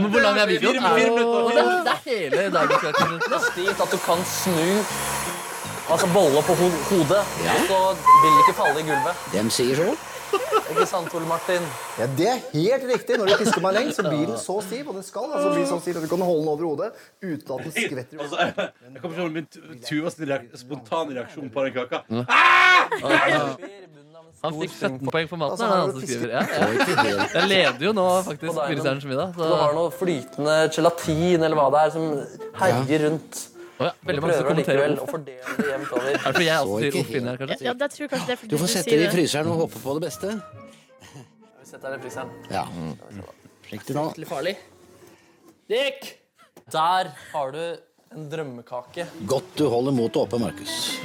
S3: Men hvor lang er videoen?
S2: Fire- fire minutter,
S3: Åh,
S2: fire
S3: det er- det er hele dagens minutter.
S9: dit at du kan snu altså boller på ho hodet, og så vil det ikke falle i gulvet.
S10: Dem sier sjøl.
S9: Ikke sant, Ole Martin?
S10: Ja, det er helt riktig. Når du pisker meg lengst, så blir den så stiv. Og den skal altså bli så stiv at du kan holde den over hodet uten at den skvetter.
S2: Altså, jeg jeg kommer til å min tu- Tuva sin reak spontane reaksjon på den kaka.
S3: Han fikk 17 poeng for
S10: Altså,
S3: maten. er det
S10: har
S3: han
S10: du
S3: som
S10: fisket
S3: skriver. Ja, ja.
S10: på i til det?
S3: Jeg leder jo nå faktisk Firestjerners middag.
S9: Du har
S3: Så.
S9: noe flytende gelatin eller hva det er som herjer rundt.
S3: Å ja, veldig mange som
S9: Prøver
S3: kommenterer.
S9: allikevel å fordele det jevnt over.
S3: Er det fordi jeg også
S10: Så
S3: sier
S10: ikke
S3: Off inni her, kanskje?
S4: Ja, jeg tror kanskje det er fordi
S10: Du får sette det i fryseren og håpe på det beste.
S9: Vi setter her i fryseren.
S10: Ja. Slik du nå.
S9: Litt farlig. Dick! Der har du en drømmekake.
S10: Godt du holder motet oppe, Markus.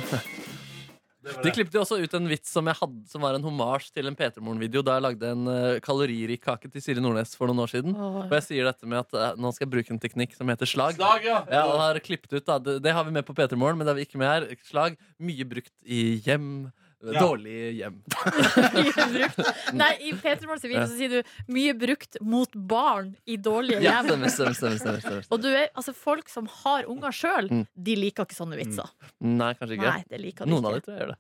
S3: De klippet jo også ut en vits som jeg hadde Som var en hommage til en P3morgen-video da jeg lagde en eh, kaloririk kake til Siri Nordnes for noen år siden.
S4: Åh.
S3: Og jeg sier dette med at eh, nå skal jeg bruke en teknikk som heter slag.
S2: Slag, ja.
S3: Ja, og har klippet ut da Det, det har vi med på P3morgen, men det har vi ikke med her. Slag. Mye brukt i hjem. eh, Dårlig hjem.
S4: brukt. Nei, i Peter Morgens video så sier du 'mye brukt mot barn i dårlige
S3: Ja,
S4: hjem'.
S3: stemmer, stemmer, stemmer, stemmer, stemmer.
S4: Og du er, altså Folk som har unger sjøl,
S3: Mm.
S4: de liker ikke sånne vitser.
S3: Nei, kanskje ikke.
S4: Nei, det liker de
S3: Noen av de
S4: ikke.
S3: tror jeg gjør det.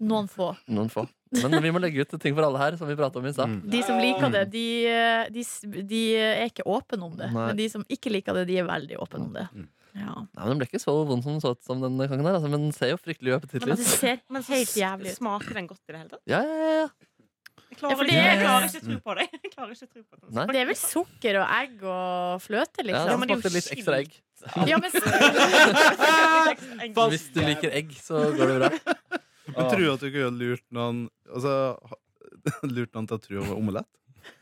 S4: Noen få.
S3: Noen få. Men vi må legge ut ting for alle her, som vi prata om i
S2: Mm.
S3: stad.
S1: Mm.
S4: De som liker det, de, eh, de, de er ikke åpne om det.
S3: Nei.
S4: Men de som ikke liker det, de er veldig åpne om det. Ja.
S3: Nei, men Den ble ikke så vond som den så ut som den kangen her, altså, men den ser jo fryktelig
S4: Men
S3: appetittlig
S4: det
S3: ut.
S4: ser
S5: Men
S4: helt jævlig ut.
S5: smaker den godt i det hele tatt?
S3: Ja, ja, ja.
S5: Jeg
S4: Ja, for
S5: klarer,
S4: det
S5: ikke,
S4: er-
S5: jeg klarer ikke å tro på det. Jeg klarer ikke å tro på det.
S3: Nei.
S4: For det er vel sukker og egg og fløte,
S3: ja
S4: liksom?
S3: den
S5: men det er jo
S3: smakte litt ekstra egg.
S4: Ja, men
S5: Egg.
S3: Hvis du liker egg, så går det bra.
S1: Men tror du at du kunne lurt noen Altså ha- Lurt noen til å tro det var omelett?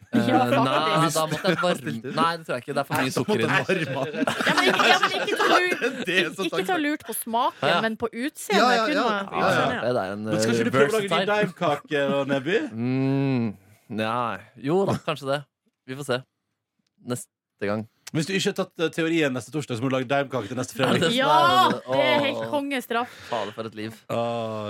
S4: Ja,
S3: Eh,
S4: faktisk.
S3: nei, da måtte jeg varme Nei, det tror jeg ikke. Det er for mye sukker i den.
S4: Ja, men ikke, ja, men ikke ta lurt-
S1: Det er så
S4: ikke ta lurt på smaken,
S3: Ja.
S4: men på
S1: Ja,
S4: utseendet.
S1: ja,
S4: kunne
S1: ja.
S4: man-
S3: Ja, ja, det er en
S2: Men skal
S3: eh,
S2: ikke du prøve å lage
S3: versatile.
S2: din daimkake, da, Nebby?
S3: Mm, nei. Jo da, kanskje det. Vi får se. Neste gang.
S2: Hvis du ikke har tatt eh, teorien neste torsdag, så må du lage daimkake til neste fredag.
S3: det
S4: Ja!
S3: som er- sånn
S4: Det er helt
S3: Åh.
S4: kongestraff.
S3: Fader, for et liv.
S2: Å,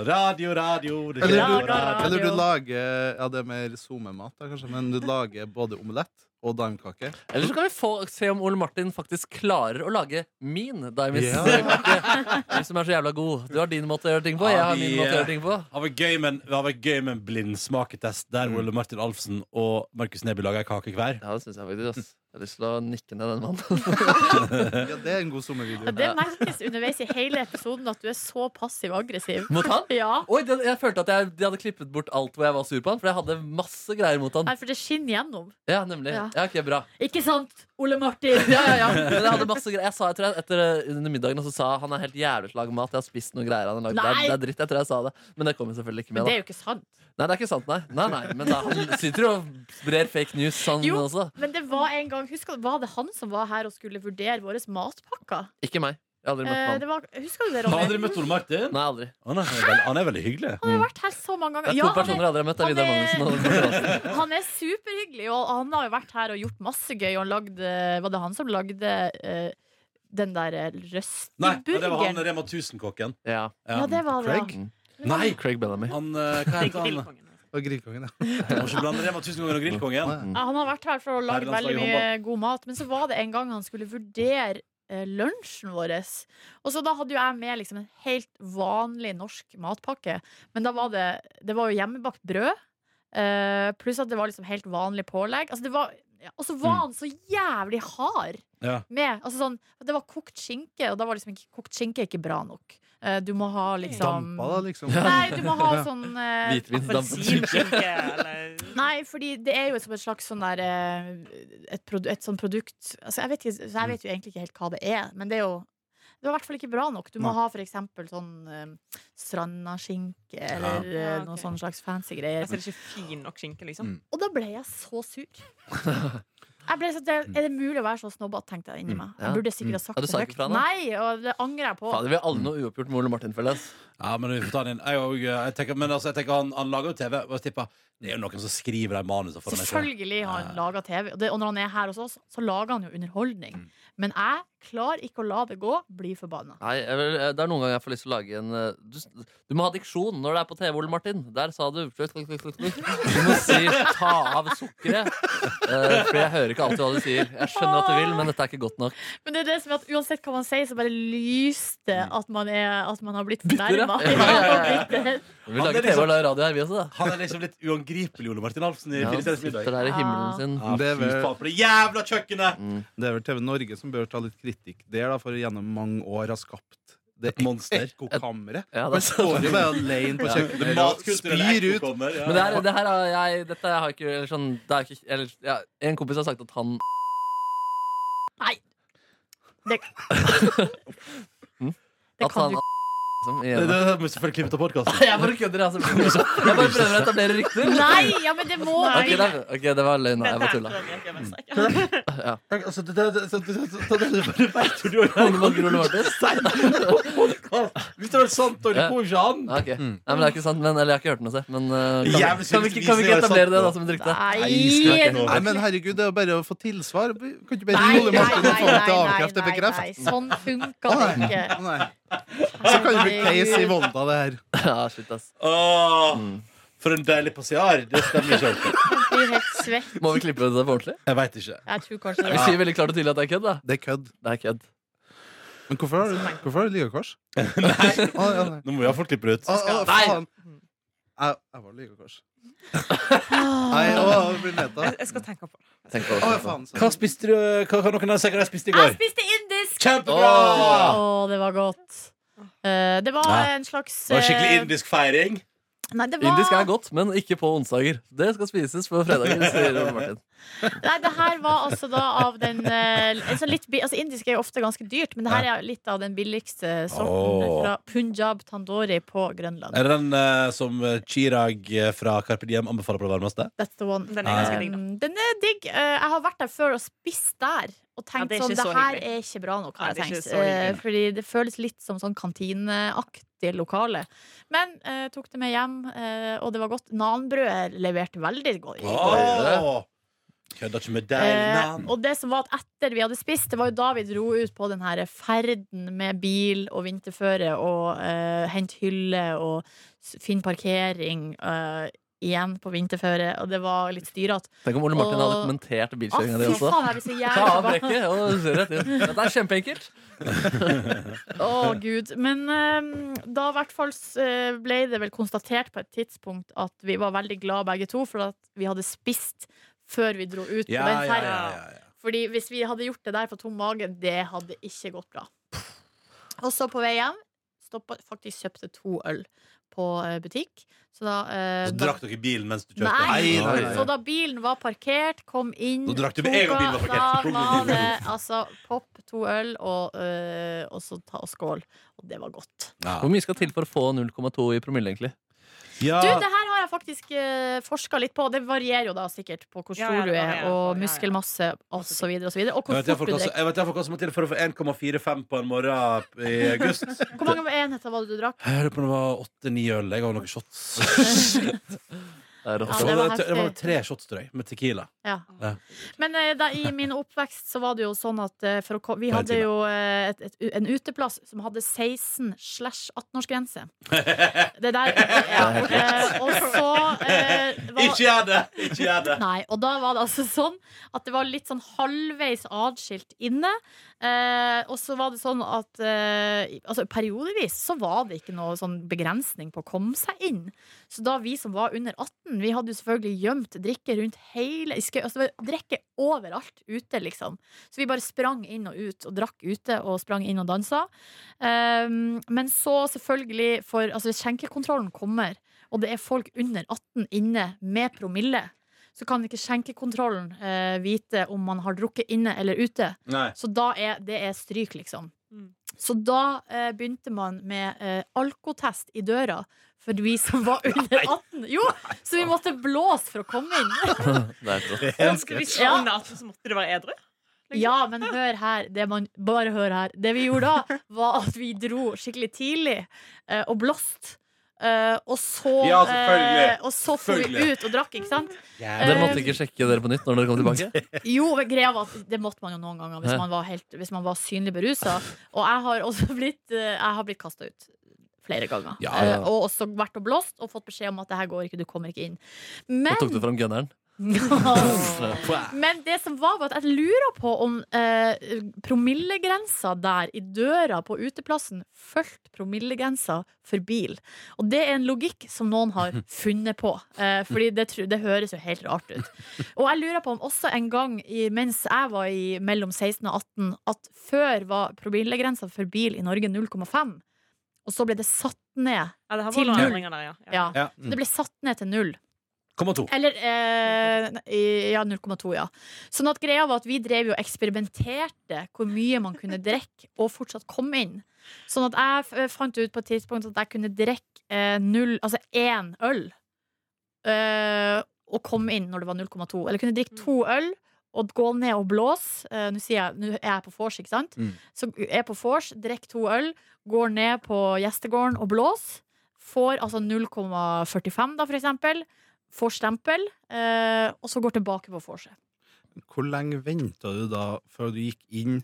S2: radio, radio det
S1: Eller
S2: heter
S1: du-
S2: radio.
S1: Eller du lager Ja, det er mer SoMe-mat, da, kanskje, men du lager både omelett og daimkake.
S3: Eller så kan vi få, se om Ole Martin faktisk klarer å lage min Diamonds
S1: Ja.
S3: kake. Du som er så jævla god. Du har din måte å gjøre ting på, jeg har min måte å gjøre ting på.
S2: Det har vært gøy med en- det har vært gøy med en blindsmaketest der Ole Martin Alfsen og Markus Neby lager ei kake hver.
S3: Ja, det syns jeg faktisk. Ass. Jeg har lyst til å nikke ned den mannen.
S1: Ja, det er en god
S4: Ja,
S1: sommervideo.
S4: Det merkes underveis i hele episoden at du er så passiv-aggressiv.
S3: Mot han?
S4: Ja.
S3: Oi, det, jeg følte at jeg, de hadde klippet bort alt hvor jeg var sur på han, for jeg hadde masse greier mot han.
S4: Nei, for det skinner gjennom.
S3: Ja, nemlig. Ja,
S4: Ja.
S3: ok, bra.
S4: Ikke sant, Ole Martin?
S3: Ja, ja, ja. Men jeg hadde masse greier. Jeg sa, jeg tror jeg, etter eh, under middagen og så sa jeg, han er helt jævlig slag mat. Jeg har spist noen greier han har lagd. Det, er-
S4: Nei!
S3: det er dritt. Jeg tror jeg sa det. Men det kommer selvfølgelig ikke
S4: Men
S3: med.
S4: det
S3: Da.
S4: er jo ikke sant.
S3: Nei, det er ikke sant, nei. nei, nei. Men da, han sitter jo og brer fake news, han
S4: Jo.
S3: også.
S4: Men det var en gang, husker du, var det han som var her og skulle vurdere våre matpakker?
S3: Ikke meg. Jeg har aldri møtt
S4: Eh,
S3: han.
S4: det var, husker du det,
S2: Har
S4: Ronny?
S2: aldri møtt Ole Martin?
S3: Nei, aldri.
S2: Han er, veldig, han er veldig hyggelig.
S4: Han har vært her så mange
S3: Det
S4: ganger.
S3: er to
S4: Ja, han,
S3: personer jeg aldri har møtt. Det er
S4: han
S3: Vidar
S4: er-
S3: Magnussen og Ole Martin Hansen.
S4: er, han er superhyggelig, og han har jo vært her og gjort masse gøy. Og han lagde, var det han som lagde eh, den der eh,
S2: Nei, det var han
S4: røsteburgeren?
S2: Rema 1000-kokken.
S3: Ja.
S4: Ja, det var det.
S1: Craig?
S4: ja.
S2: Nei!
S3: Craig Bellamy.
S2: Han, eh, hva heter han?
S5: Grillkongen.
S1: Og Grillkongen, ja.
S2: Jeg må ikke blande Rema 1000-kongen og Grillkongen.
S4: Ja, han har vært her for å lage
S2: Herrelandslaget
S4: veldig
S2: i
S4: mye god mat, men så var det en gang han skulle vurdere eh, lunsjen vår. Og så da hadde jo jeg med liksom en helt vanlig norsk matpakke. Men da var det Det var jo hjemmebakt brød, eh, pluss at det var liksom helt vanlig pålegg. Altså det var ja, og så var han så jævlig hard
S2: Ja.
S4: med altså sånn, Det var kokt skinke, og da var liksom ikke kokt skinke er ikke bra nok. Eh, du må ha liksom
S1: Dampa, da, liksom.
S4: Nei, du må ha sånn eh,
S3: Hvitvinsdamp.
S5: Appelsinskinke eller
S4: Nei, fordi det er jo som et slags sånn der eh, Et, produ et sånn produkt altså jeg, vet ikke, så jeg vet jo egentlig ikke helt hva det er, men det er jo det var i hvert fall ikke bra nok. Du må ha for eksempel sånn eh, strandaskinke eller eh,
S5: Ja, ok.
S4: noe sånn slags fancy greier.
S5: Altså, det er ikke fin nok skinke, liksom.
S2: Mm.
S4: Og da ble jeg så sur. Jeg ble så, det, er det mulig å være så snobbete, tenkte jeg inni meg.
S3: Ja.
S4: Jeg burde sikkert ha sagt
S3: Ja, du
S4: det
S3: sa ikke fra, da?
S4: Nei, og det angrer jeg på.
S3: Fader, vi har alle noe uoppgjort med Ole Martin, føles.
S2: Ja, men vi får ta den inn. Jeg, og, jeg tenker, men altså, jeg tenker han, han lager jo TV, og jeg tipper det er jo noen som skriver de manusene for ham.
S4: Selvfølgelig har han
S2: Ja.
S4: laga TV. Og, det, og når han er her hos oss, så lager han jo underholdning. Men jeg klarer ikke å la det gå. Blir forbanna.
S3: Nei, jeg vil, eh, det er noen ganger jeg får lyst til å lage en eh, du, du må ha diksjon når det er på TV, Ole Martin. Der sa du slutt, slutt, slutt, slutt. Du må si 'ta av sukkeret'. Eh, for jeg hører ikke alltid hva du sier. Jeg skjønner at du vil, men dette er ikke godt nok.
S4: Men det er det som er at uansett hva man sier, så bare lyste at man, er, at man har blitt
S3: Bitter, ja.
S4: fornærma.
S3: Ja, ja, ja. Vi
S2: Ja,
S3: lager
S2: det er liksom
S3: TV og radio her, vi også, da.
S2: Han er liksom litt uangripelig, Ole Martin Alfsen, i
S3: Ja,
S2: Fire
S3: han
S2: stjerners middag.
S3: sitter der i himmelen sin.
S2: Ja,
S1: Det
S2: fy
S1: er vel-
S2: faen, for det jævla kjøkkenet!
S1: Det er vel TV Norge som bør ta litt kritikk der, da, for gjennom mange år har skapt det
S2: Et monster.
S1: ekkokammeret.
S3: Ja, det er
S1: Man står jo bare alene på
S2: Det
S1: kjøkkenet og
S2: matkulturelle
S1: spyr ut.
S2: ekkokommer, ja.
S3: Men det her, det her har jeg Dette har jeg ikke eller sånn, det er ikke eller, ja, En kompis har sagt at han
S4: Nei. Det, det
S3: At han
S4: kan du
S3: liksom,
S2: Det,
S3: igjen.
S2: det, det må selvfølgelig klippe ut av podkasten.
S3: Jeg bare kødder, altså. Jeg bare prøver å etablere rykter.
S4: Nei! Ja, men det må
S3: Ok,
S4: Nei.
S3: da, ok, det var løgn. da. Jeg bare tulla.
S5: tulla.
S2: Altså, det, det, det, det, det, det, det, det vet jo du jo.
S3: Ole Martin, Ole Martin.
S2: Hvis det var sant, og det går ikke an!
S3: Ja, ok. Nei, men det er ikke sant. Men, eller jeg har ikke hørt den noe sted. Men eh,
S2: Jævlig
S3: kan, vi- kan, vi, ikke- kan vi
S2: sykt hvis
S3: ikke
S2: det var
S3: etablere det da
S2: sant,
S3: som et rykte?
S4: Nei,
S1: Nei, men herregud, det er jo bare å få tilsvar. Kan ikke bare
S4: Nei,
S1: ringe Ole
S4: nei,
S1: Martin
S4: nei,
S1: og få det til
S4: nei,
S1: avkreftet
S4: nei,
S1: bekreftet?
S4: nei. Sånn funka det ikke.
S1: Å, nei. Så kan det bli case i Volda, det her.
S3: Ja, shit, ass.
S2: Åh,
S3: Mm.
S2: For en deilig passiar. Det stemmer ikke alltid.
S4: Jeg Blir helt svett.
S3: Må vi klippe det på ordentlig?
S2: Jeg veit ikke.
S4: Jeg tror kanskje
S3: Vi
S4: det.
S3: sier veldig klart og tydelig at det er kødd, da.
S1: Det er kødd.
S3: Det er kødd.
S1: Men hvorfor har du, hvorfor har du lygekors? Nei. ja, nei.
S2: Nå må iallfall klippe det ut.
S1: Å, å,
S3: Nei.
S1: faen. Jeg, jeg var lygekors. Nei, å, jeg blir neta.
S5: Jeg skal tenke på det.
S3: Tenk på
S1: Å,
S3: det.
S1: faen. sorry.
S2: Hva spiste du? Hva kan noen av dere si hva jeg spiste i
S4: Jeg
S2: går?
S4: spiste indisk! Å,
S2: Kjempebra!
S4: det var godt. Eh, det var
S2: Nei.
S4: en slags
S2: Det var skikkelig
S4: eh,
S2: indisk feiring.
S4: Nei, det var
S3: Indisk er godt, men ikke på onsdager. Det skal spises på fredager, sier Ole Martin.
S4: Nei, det her var altså da av den eh, en sånn litt, bi- altså Indisk er jo ofte ganske dyrt, men det her er litt av den billigste sorten
S2: Åh.
S4: fra Punjab Tandori på Grønland.
S2: Er det den eh, som eh, Chirag eh, fra Carpe Diem anbefaler på det varmeste?
S4: That's the one.
S5: Den er ganske digg, da.
S4: Um, den er digg. Eh, jeg har vært der før og spist der. Og tenkt
S5: det er
S4: sånn,
S5: ikke
S4: det
S5: så
S4: her
S5: hyggelig.
S4: er ikke bra nok, har
S5: Nei,
S4: jeg
S5: det er
S4: tenkt.
S5: ikke så hyggelig.
S4: Eh, fordi det føles litt som sånn kantineaktig lokale. Men eh, tok det med hjem, eh, og det var godt. Nanbrødet leverte veldig godt.
S2: Åh, Kødder ikke med deg,
S4: Eh,
S2: man.
S4: og det som var at etter vi hadde spist, det var jo da vi dro ut på den her ferden med bil og vinterføre og eh, hent hylle og s- finn parkering eh, igjen på vinterføre, og det var litt styrete.
S3: Tenk om Ole Martin
S4: Og-
S3: hadde kommentert
S4: Å, fy
S3: bilkjøringa di også.
S4: faen, jeg blir så
S3: Ta
S4: jævlig
S3: av
S4: forbanna.
S3: brekket og se rett inn. Dette er kjempeenkelt.
S4: Å, gud. Men eh, da i hvert fall eh, ble det vel konstatert på et tidspunkt at vi var veldig glad begge to for at vi hadde spist før vi dro ut
S2: Ja,
S4: på den
S2: ja,
S4: ferden.
S2: ja, ja, ja.
S4: Fordi hvis vi hadde gjort det der på tom mage, det hadde ikke gått bra. Og så på vei hjem stoppa faktisk kjøpte to øl på eh, butikk. Så da, eh,
S2: Så drakk dere i bilen mens du
S4: da
S2: kjørte?
S4: Nei,
S1: Nei, nei, nei.
S4: så da bilen var parkert, kom inn
S2: Da drakk du med
S4: tok
S2: en gang bilen var
S4: av-
S2: parkert.
S4: Da var det altså pop, to øl og, eh, og så ta og skål. Og det var godt.
S2: Ja.
S3: Hvor mye skal til for å få 0,2 i promille, egentlig?
S2: Ja.
S4: Du, det her har jeg jeg faktisk eh, forska litt på. Det varierer jo da sikkert på hvor
S5: Ja,
S4: stor
S5: ja, det
S4: du
S5: varierer,
S4: er,
S5: ja, ja.
S4: og muskelmasse osv. Og, så videre, og
S2: Jeg vet
S4: hvor fort
S2: iallfall hva
S4: du
S2: som-
S4: drikker.
S2: jeg vet iallfall hva som må til for å få 1,45 på en morgen i august.
S4: Hvor mange enheter var det du drakk?
S2: Jeg lurer på om det var åtte-ni øl. Jeg har noen shots.
S3: Det er
S4: Ja,
S3: rått.
S2: Så
S4: det var
S2: det, det var
S4: heftig.
S2: tre shots, tror jeg, med Tequila.
S4: Ja.
S2: Ja.
S4: Men eh, da, i min oppvekst så var det jo sånn at eh, for å, ko- vi
S2: Bare en
S4: hadde
S2: time.
S4: jo eh, et, et, en uteplass som hadde 16 slash 18-årsgrense. Det der ja, eh, Og så eh, var,
S2: Ikke gjør det! Ikke gjør det!
S4: Nei, og da var det altså sånn at det var litt sånn halvveis adskilt inne. Eh, og så var det sånn at eh, altså, periodevis så var det ikke noe sånn begrensning på å komme seg inn. Så da vi som var under 18, vi hadde jo selvfølgelig gjemt drikke rundt hele i skø- altså, det var Drikke overalt ute, liksom. Så vi bare sprang inn og ut og drakk ute og sprang inn og dansa. Eh, men så selvfølgelig, for altså, skjenkekontrollen kommer, og det er folk under 18 inne med promille så kan ikke skjenkekontrollen eh, vite om man har drukket inne eller ute.
S2: Nei.
S4: Så da er det er stryk, liksom.
S5: Mm.
S4: Så da eh, begynte man med eh, alkotest i døra for vi som var under 18. Jo, så vi måtte blåse for å komme inn.
S3: Det er rått.
S5: Ja, så Hvis du
S4: Ja.
S5: var under 18, så måtte du være edru? liksom.
S4: Ja, men hør her. Det man, bare hør her. Det vi gjorde da, var at vi dro skikkelig tidlig eh, og blåste. Eh, og så
S2: Ja, selvfølgelig.
S4: eh, Og så for vi
S2: Selvfølgelig.
S4: ut og drakk, ikke sant? Eh,
S3: Og Dere måtte ikke sjekke dere på nytt når dere kom tilbake?
S4: Jo, men greia var at det måtte man jo noen ganger hvis
S3: Ja.
S4: man var, helt, hvis man var synlig berusa. Og jeg har også blitt, eh, jeg har blitt kasta ut flere ganger.
S3: Ja, ja.
S4: Eh, Og også vært og blåst og fått beskjed om at det her går ikke, du kommer ikke inn. Men,
S3: Og tok du fram gunneren?
S4: men det som var, var at jeg lurer på om eh, promillegrensa der i døra på uteplassen fulgte promillegrensa for bil. Og det er en logikk som noen har funnet på. Eh, fordi det, tru- det høres jo helt rart ut. Og jeg lurer på om også en gang i, mens jeg var i mellom 16 og 18, at før var promillegrensa for bil i Norge 0,5. Og så ble det satt ned.
S5: Ja, det her
S4: Til
S5: var noen
S4: null.
S5: endringer der, ja.
S4: Ja,
S2: Ja.
S1: mm.
S4: det ble satt ned til null.
S2: Komma to.
S4: Eller eh, nei, ja, 0,2, ja. Sånn at greia var at vi drev jo og eksperimenterte hvor mye man kunne drikke og fortsatt komme inn. Sånn at jeg f- eh, fant ut på et tidspunkt at jeg kunne drikke eh, null, altså én øl eh, og komme inn når det var 0,2. Eller kunne drikke to øl. Og gå ned og blåse. Eh, Nå sier jeg, nå er jeg på vors, ikke sant?
S2: Mm.
S4: Så er på vors, drikker to øl, går ned på gjestegården og blåser. Får altså 0,45, da, for eksempel får stempel, eh, og så går tilbake på vorset.
S1: Hvor lenge venta du da før du gikk inn,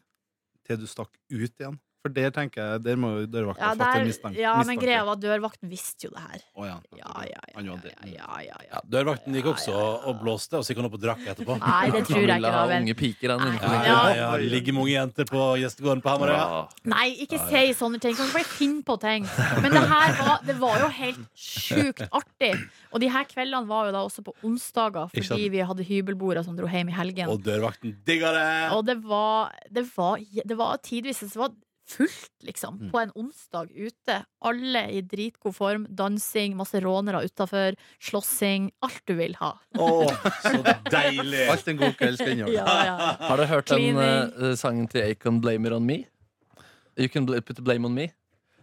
S1: til du stakk ut igjen? For der tenker jeg, der må jo dørvakta
S4: Ja,
S1: fatte en
S4: der-
S1: mistanke.
S4: ja, men
S1: mistanke.
S4: greia var at dørvakten visste jo det her.
S1: Å, ja.
S4: Ja, ja, ja.
S1: Han
S4: ja,
S1: var det.
S4: ja, ja, ja,
S2: Ja, dørvakten gikk også og- og blåste, og så gikk han opp og drakk etterpå.
S4: Nei, det tror jeg
S3: ville
S4: ikke.
S3: ha
S4: Da, vel.
S3: unge piker han
S4: Nei.
S3: innenfor
S2: Ja, ja,
S3: vinduet.
S2: ja. Det ligger mange jenter på gjestegården på Hamarøya.
S4: Nei, ikke si sånne ting. Kan ikke bare finne på ting. Men det her var, det var jo helt sjukt artig. Og de her kveldene var jo da også på onsdager,
S2: Ikke sant?
S4: fordi vi hadde hybelboere som dro hjem i helgen.
S2: Og dørvakten digga det!
S4: Og det var, det var, det var tidvis det var fullt, liksom,
S5: Mm.
S4: på en onsdag ute. Alle i dritgod form. Dansing, masse rånere utafor, slåssing. Alt du vil ha.
S2: Å, så deilig!
S1: Alt en god kveld skal inneholde.
S4: Ja, ja.
S3: Har du hørt den
S4: Cleaning.
S3: eh, sangen til Acon Blame It On Me? You Can bl- Put the Blame On Me.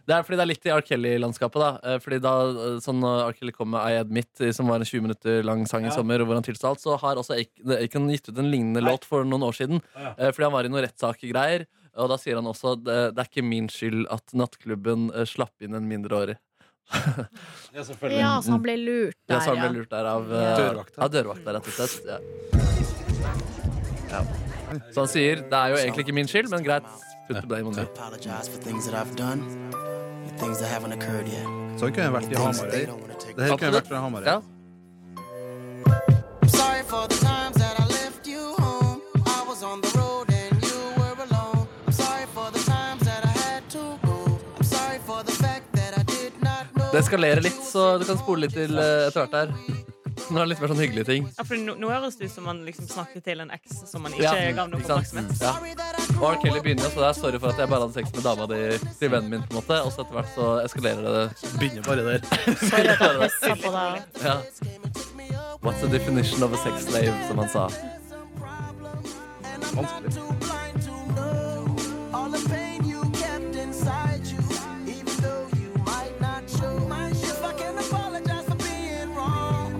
S3: Det er fordi det er litt i R. Kelly-landskapet. da Eh, Fordi da eh, sånn når R. Kelly kom med I Admit, eh, som var en 20 minutter lang sang i sommer, og hvor han tilsto alt, så har også Ac- Acon gitt ut en lignende låt for noen år siden.
S2: Ja.
S3: eh, Fordi han var i noen rettssakegreier. Og da sier han også det, det er ikke min skyld at nattklubben eh, slapp inn en mindreårig.
S2: Ja, selvfølgelig.
S4: ja, så han ble lurt
S3: Ja,
S4: der,
S3: så han
S4: ja.
S3: ble lurt der av eh,
S1: Dørvakta.
S3: Av dørvakta, rett og slett. Ja. Ja. Så han sier det er jo egentlig ikke min skyld, men greit. Put the blame on me.
S10: Apologize for things that I've done, things that haven't occurred yet.
S1: Sånn kunne jeg vært i Hamarøy. Det her kunne jeg vært fra Hamarøy.
S3: Ja.
S10: Sorry for the times that I left you home. I was on the road and you were alone. I'm sorry for the times that I had to go. I'm sorry for the fact that I did not know.
S3: Det eskalerer litt, så du kan spole litt til eh, etter hvert her. Nå er det litt mer sånn hyggelige ting.
S5: Ja, for nå, nå høres det ut som man liksom snakket til en eks som man ikke
S3: Ja,
S5: gav noe
S3: ikke sant?
S5: oppmerksomhet.
S3: Ja. Og R. Kelly begynner, så det er sorry for at jeg bare hadde sex med dama di til vennen min. på en måte Og så etter hvert så eskalerer det.
S1: Begynner bare der.
S4: Sorry at jeg pissa på deg.
S3: Ja. What's the definition of a sex slave, som han sa.
S1: Vanskelig.
S10: All the pain you kept inside you, even though you might not show. If I can apologize for being wrong.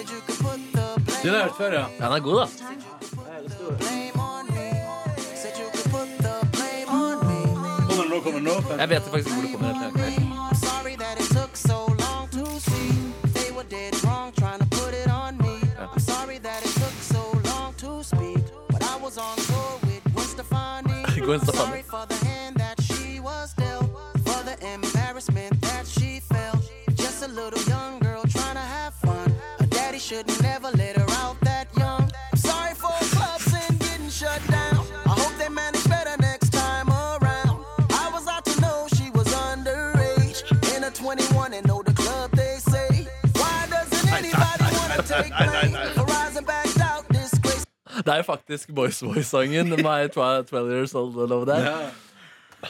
S2: Den har jeg hørt før, ja.
S3: Den er god, da.
S2: Kommer den nå, kommer den nå.
S3: Jeg vet faktisk ikke hvor det kommer. helt ærlig.
S7: Sorry that it took so long to see. They were dead wrong trying to put it on me. I'm sorry that it took so long to speak. But I was on tour with Gwen Stefani.
S3: Gwen Stefani.
S7: Sorry for the hand that she was dealt. For the embarrassment that she felt. Just a little young girl trying to have fun. Her daddy should never let her out that young. I'm sorry for clubs and getting shut down. I hope they manage better next time around. I was out to know she was underage. In her 21 and know the club they say. Why doesn't anybody want to take blame? Verizon backed out, disgrace.
S3: Det er jo faktisk Boys Voice-sangen. My 12 Years Old Love That.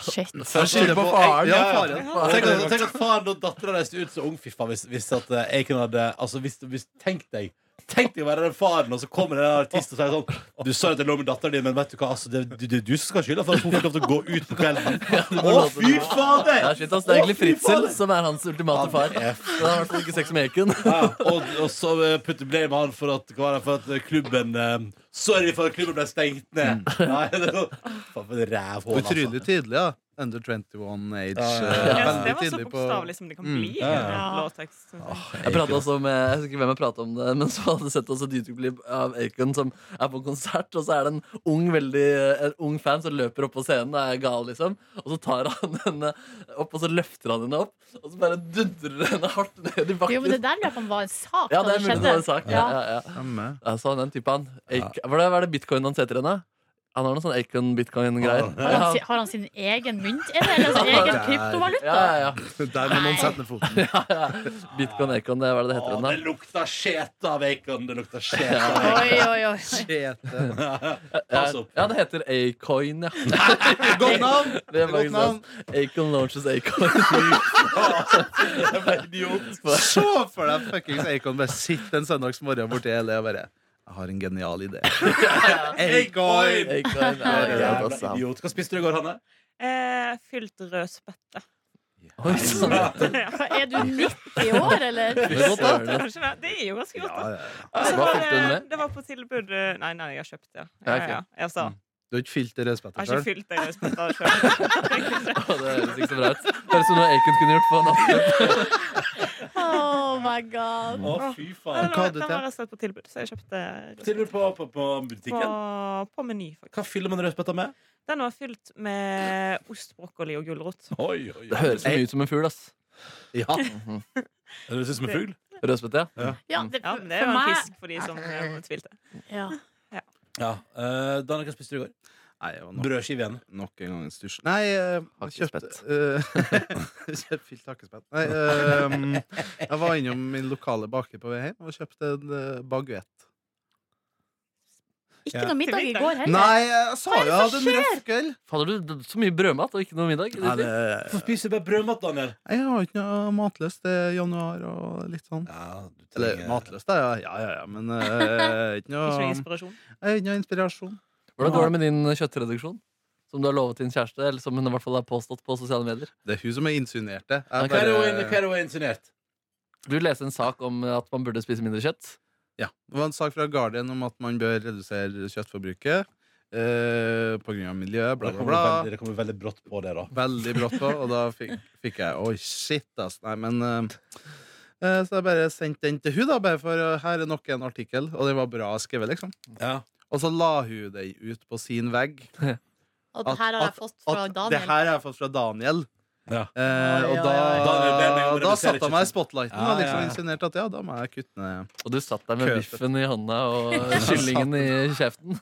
S4: Shit.
S2: Først skylder på
S1: faren,
S2: Ja,
S1: ja,
S2: ja. Tenk, at, tenk at faren og datteren reiste ut så ung fiffa hvis, hvis at eh, jeg kunne hadde Altså, hvis, hvis Tenk deg Tenk deg å være den faren, og så kommer det en artist og sier sånn Du sa at jeg lå med datteren din, men vet du hva, altså, det, det, det er du som skal ha skylda for at hun fikk lov til å gå ut på kvelden. Å, fy fader!
S3: Ja, shit, ass, det er egentlig
S2: Å, fy
S3: Fritzel
S2: fader!
S3: som er hans ultimate far.
S2: Ja, det er
S3: Han har i hvert fall ikke sex med Eken.
S2: Ja, og, og så eh, putter blame han for at, hva var det, for at klubben eh, Sorry for at klubben ble stengt ned. Nei, det er sånn- Faen, for et rævhål, altså.
S1: Utrolig tidlig, ja. Under 21 age.
S2: Ja, ja, ja.
S1: eh,
S2: Ja,
S5: Ja, så det
S1: veldig
S5: var så
S1: tidlig på-
S5: bokstavelig som det kan bli.
S2: Ja, ja.
S5: en Låttekst. synes jeg.
S3: Jeg pratet også med, jeg husker ikke hvem jeg pratet om det, men så hadde jeg sett også et YouTube-klipp av Acon som er på konsert, og så er det en ung, veldig, en ung fan som løper opp på scenen og er gal, liksom. Og så tar han henne opp, og så løfter han henne opp, og så bare dundrer henne hardt ned i bakken.
S4: Jo, men det der lurer jeg på om var en sak
S3: ja,
S4: da
S3: det er
S4: det
S3: mulig det
S4: skjedde.
S3: var en sak. Ja, ja, ja.
S1: Stemme.
S3: Ja, så han er en type, han. Ac- Hva er det, hva er det bitcoin han heter henne? Han har noen sånn Acon-bitcoin-greier.
S4: Har han, si- har han sin egen mynt, eller, eller sin egen
S1: Der.
S4: kryptovaluta?
S3: Ja, ja, ja.
S1: Der må noen sette ned foten.
S3: Bitcoin Acon, det er hva er det det heter
S2: Å,
S3: henne?
S2: det lukta skjet av bacon. Det lukta skjet av bacon.
S4: Oi, oi, oi.
S1: Kjete.
S2: Pass opp.
S3: Ja, det heter Acoin, ja.
S1: Godt navn!
S3: Det er
S1: Godt
S3: faktisk
S1: navn.
S3: sant. Acon launches Acoin.
S2: Jeg ble idiot.
S1: Se for deg fuckings Acon bare sitter en søndagsmorgen borti LA og bare Jeg har en genial idé. Acon!
S3: Acoin er greit, ass.
S2: Jævla idiot. Hva spiste du i går, Hanne?
S5: Eh, fylt rød spette.
S3: Oi, sånn.
S4: Hva, Er du 90 år, eller?
S3: Det er godt, da.
S5: Kanskje det. Det er jo ganske godt.
S1: Ja,
S5: da.
S1: ja, ja.
S3: Hva
S5: Og så var
S3: fylte hun
S5: det,
S3: med?
S5: det var på tilbud eh, Nei, nei, jeg har kjøpt det.
S3: Ja,
S5: Ja,
S3: ok.
S5: ja. Jeg sa
S1: Du har ikke fylt det rødspettet
S5: Jeg har ikke
S1: sjøl?
S5: fylt det rød spetta sjøl.
S3: Å, Det høres ikke så bra ut. Høres ut som noe Acon kunne gjort på en annen
S4: Oh my god.
S2: Å, fy
S5: Den
S2: faen.
S1: hva hadde
S5: var
S1: du
S5: den
S1: til?
S5: var rett og slett på tilbud, så jeg kjøpte rød spette
S2: Tilbud på, på, på
S5: på,
S2: butikken.
S5: på Meny, faktisk.
S2: Hva fyller man rødspetta med?
S5: Den var fylt med ost, brokkoli og gulrot.
S2: Oi, oi,
S3: Det
S2: oi.
S3: høres så mye ut som en fugl, ass.
S1: Ja.
S2: Høres ut som en fugl.
S3: Rødspette, ja.
S4: Ja, det,
S5: Ja, men det er
S4: for
S5: jo en
S4: meg-
S5: fisk for de som eh, tvilte.
S4: Ja.
S2: Ja. Uh, Danne, hva spiste du i går?
S1: Nei, det var nok,
S2: Brødskive igjen.
S1: nok en gang en stusj. Nei, eh, jeg kjøpte eh, kjøpt Fylt hakkespett. Nei, eh, jeg var innom min lokale baker på vei hjem og kjøpte en eh, baguett.
S4: Ikke
S2: Ja.
S4: noe middag i går heller.
S1: Nei, jeg sa jo jeg hadde en røff kveld!
S3: Fader, du så mye brødmat og ikke noe middag.
S1: Nei,
S3: Det
S1: det-
S2: Hvorfor spiser du bare brødmat, Daniel?
S1: Jeg har ikke noe matlyst. Det er januar og litt sånn.
S2: Ja, du
S1: Eller matlyst, da. Ja, ja, ja. ja, Men eh, ikke noe
S5: Ikke noe inspirasjon.
S1: Jeg har ikke noe inspirasjon.
S3: Hvordan går det med din kjøttreduksjon? Som du har lovet din kjæreste, eller som hun i hvert fall har påstått på sosiale medier.
S1: Det er hun som er insinuert det. Jeg
S3: Ok.
S2: Hva er det hun hva
S1: bare-
S2: er det hun har insinuert?
S3: Du leste en sak om at man burde spise mindre kjøtt.
S1: Ja. Det var en sak fra Guardian om at man bør redusere kjøttforbruket eh, på grunn av miljø, bla,
S2: Det
S1: bla,
S2: kommer
S1: bla.
S2: veldig, det kommer veldig brått på det, da.
S1: Veldig brått på, og da fikk, fikk jeg Oi, shit, ass. Nei, men eh, eh, Så jeg bare sendte den til hun da, bare for eh, her er nok en artikkel, og det var bra skrevet, liksom.
S2: Ja.
S1: Og så la hun den ut på sin vegg.
S4: Og det her har jeg fått fra
S1: At det her
S4: Daniel.
S1: har jeg fått fra Daniel.
S2: Ja.
S1: Eh, og
S4: Oi,
S1: da,
S4: oi, oi.
S2: Daniel ber meg om å
S1: da
S2: redusere
S1: satte han meg i spotlighten
S2: Ja, ja,
S1: og liksom
S2: ja.
S1: insinuerte at ja, da må jeg kutte ned.
S3: Og du satt der med
S1: Køtet.
S3: biffen i hånda og kyllingen i kjeften.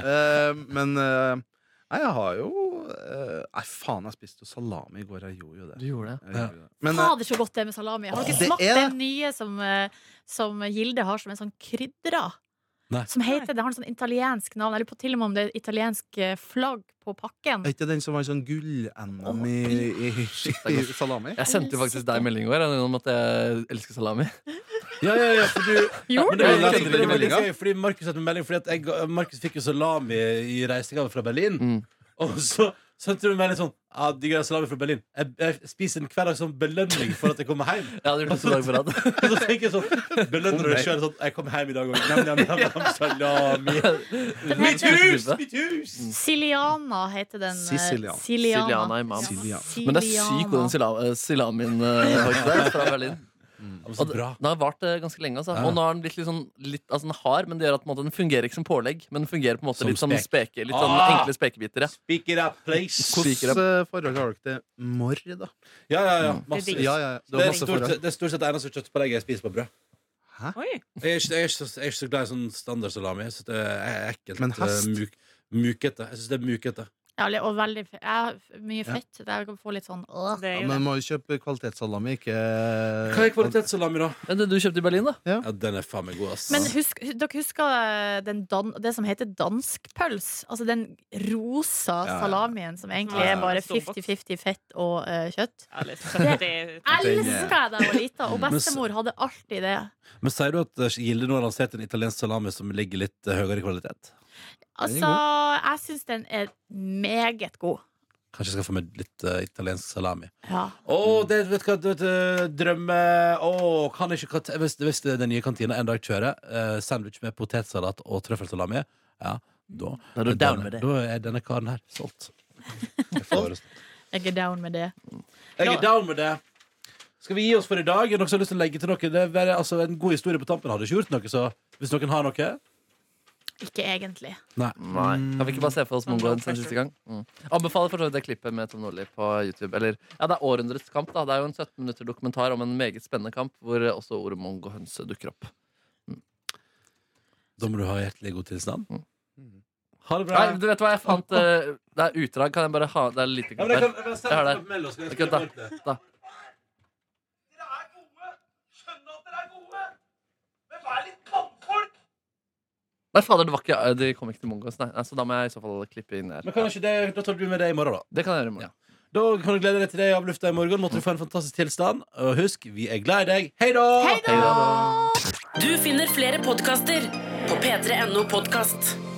S1: Eh, men eh, nei, jeg har jo eh, Nei, faen, jeg spiste jo salami i går. Jeg gjorde jo det.
S3: Du gjorde det.
S1: Jeg gjorde det. Men eh,
S4: Fader, så godt det er med salami. Har
S1: Åh,
S4: dere
S1: det
S4: smakt
S1: er det.
S4: den nye som, eh, som Gilde har, som er sånn krydra?
S2: Nei.
S4: Som heter, Det har en sånn italiensk navn. Jeg lurer på til og med om det er italiensk eh, flagg på pakken.
S1: er ikke den som var sånn gull-NM i, i, i, i salami?
S3: Jeg sendte jo faktisk deg melding i går om at jeg elsker salami.
S2: Ja, ja, ja, for du
S4: Gjorde
S2: Men det var
S1: du?
S2: jo
S1: Leste du
S2: veldig-
S1: ikke
S2: veldig
S1: meldinga?
S2: gøy, Fordi Markus sendte meg melding Fordi at jeg, Markus fikk jo salami i reisegave fra Berlin.
S3: Mm.
S2: Og så Sendte du en melding sånn ah, Digger salami fra Berlin. Jeg, jeg spiser den hver dag som belønning for at jeg kommer hjem.
S3: Jeg hadde gjort det to dager på rad.
S2: Så tenker jeg sånn Belønner du deg sjøl sånn Jeg kommer hjem i dag òg. Salami. Mitt hus! Mm. Mitt hus!
S4: Siliana heter den. eh,
S1: Siciliana.
S4: Siliana.
S3: Siliana Imam.
S1: Siliana.
S3: Men det er sykt hvordan sila- eh, silamien eh, har ikke det fra Berlin.
S2: Ja, men
S3: Og
S2: Så
S3: det-
S2: bra.
S3: Den har vart eh, ganske lenge. Altså.
S2: Ja.
S3: Og nå har den blitt litt sånn litt, altså, den er hard, men det gjør at på en måte, den fungerer ikke som pålegg. Men den fungerer på en måte
S2: Som
S3: litt som
S2: spek.
S3: speke. Litt sånn
S2: Ah!
S3: enkle spekebiter. Ja.
S2: Speak it up, please.
S3: Spiker
S1: Hvordan eh, forhold har dere til morr, da?
S2: Ja, ja, ja. Masse.
S5: digg.
S1: Ja, ja, ja. Du
S2: Det
S1: har
S2: er
S1: masse
S2: stort
S1: forhold.
S2: sett det er stort sett det eneste kjøttpålegget jeg spiser på brød. Jeg
S5: Oi.
S2: er ikke, jeg er ikke, så, jeg er ikke så glad i sånn standardsalami. Jeg synes det er ekkelt.
S1: Men hest?
S2: eh, Muk, mukete. Jeg syns det er mukete.
S4: Ja, eller- og veldig fe- ja, mye fett. Det er- Jeg kan få litt sånn øh.
S5: Det
S1: Ah. Ja,
S5: er jo
S1: men
S5: det.
S1: må jo kjøpe kvalitetssalami, ikke
S2: Hva er kvalitetssalami, da?
S3: Men det du kjøpte i Berlin, da?
S2: Eh, Ja, den er faen meg god, ass.
S4: Men husk, hu- dere husker eh, den dan, det som heter danskpøls? Altså den rosa
S2: ja.
S4: salamien som egentlig
S5: Ja,
S4: er
S5: ja.
S4: bare
S5: Stor boks.
S4: 50-50 fett og eh, kjøtt.
S5: Ja, litt søtt. Det er-
S4: Elska jeg da jeg var lita, og
S2: Men så-
S4: bestemor hadde alltid det.
S2: Men sier du at eh, Gilde nå har lansert en italiensk salami som ligger litt eh, høyere i kvalitet?
S1: Den er
S4: Altså, jeg syns den er meget god.
S2: Kanskje jeg skal få meg litt eh, italiensk salami.
S4: Ja.
S2: Å, det vet du hva, du vet, eh, drømme Å, kan ikke kat- hvis, hvis det er den nye kantina en dag kjører eh, sandwich med potetsalat og trøffelsalami, ja, da,
S3: Da er du
S2: er
S3: down
S2: denne-
S3: med det.
S2: da er denne karen her solgt. Jeg får-
S4: Jeg er down med det.
S2: Jeg
S4: Nå-
S2: er down med det. Skal vi gi oss for i dag? Er det noen som har lyst til å legge til noe? Det er bare, altså, en god historie på tampen hadde ikke gjort noe, så hvis noen har noe
S4: Ikke egentlig.
S2: Nei.
S3: Kan vi ikke bare se for oss Mongoen sin siste gang? Mm. Anbefaler for så vidt det klippet med Tom Nordli på YouTube. Eller, ja, det er århundrets kamp. da Det er jo en 17 minutter dokumentar om en meget spennende kamp hvor eh, også ordet mongohønse dukker opp.
S2: Da må du ha hjertelig god tilstand.
S3: Mm.
S2: Ha det bra.
S3: Nei, du vet hva jeg fant? eh, Det er utdrag. Kan jeg bare ha Det er lite
S2: Ja,
S3: klipp
S2: men jeg
S3: her.
S2: kan, jeg kan
S3: Jeg har
S2: sende
S3: det.
S2: det på mail, og så kan jeg
S3: Akkurat
S2: skrive
S3: da.
S2: bort det.
S3: Da. Nei, fader, det var ikke eh, De kom ikke til mongohøns, nei. Nei, Så da må jeg i så fall klippe inn her.
S2: Men kan ikke det, da tar du med det i morgen, da.
S3: Det kan jeg gjøre i morgen.
S2: Da kan du glede deg til det i avlufta i morgen. Måtte du få en fantastisk tilstand. Og husk, vi er glad i deg. Hei da!
S4: Hei da!
S11: Du finner flere podkaster på p3.no podkast.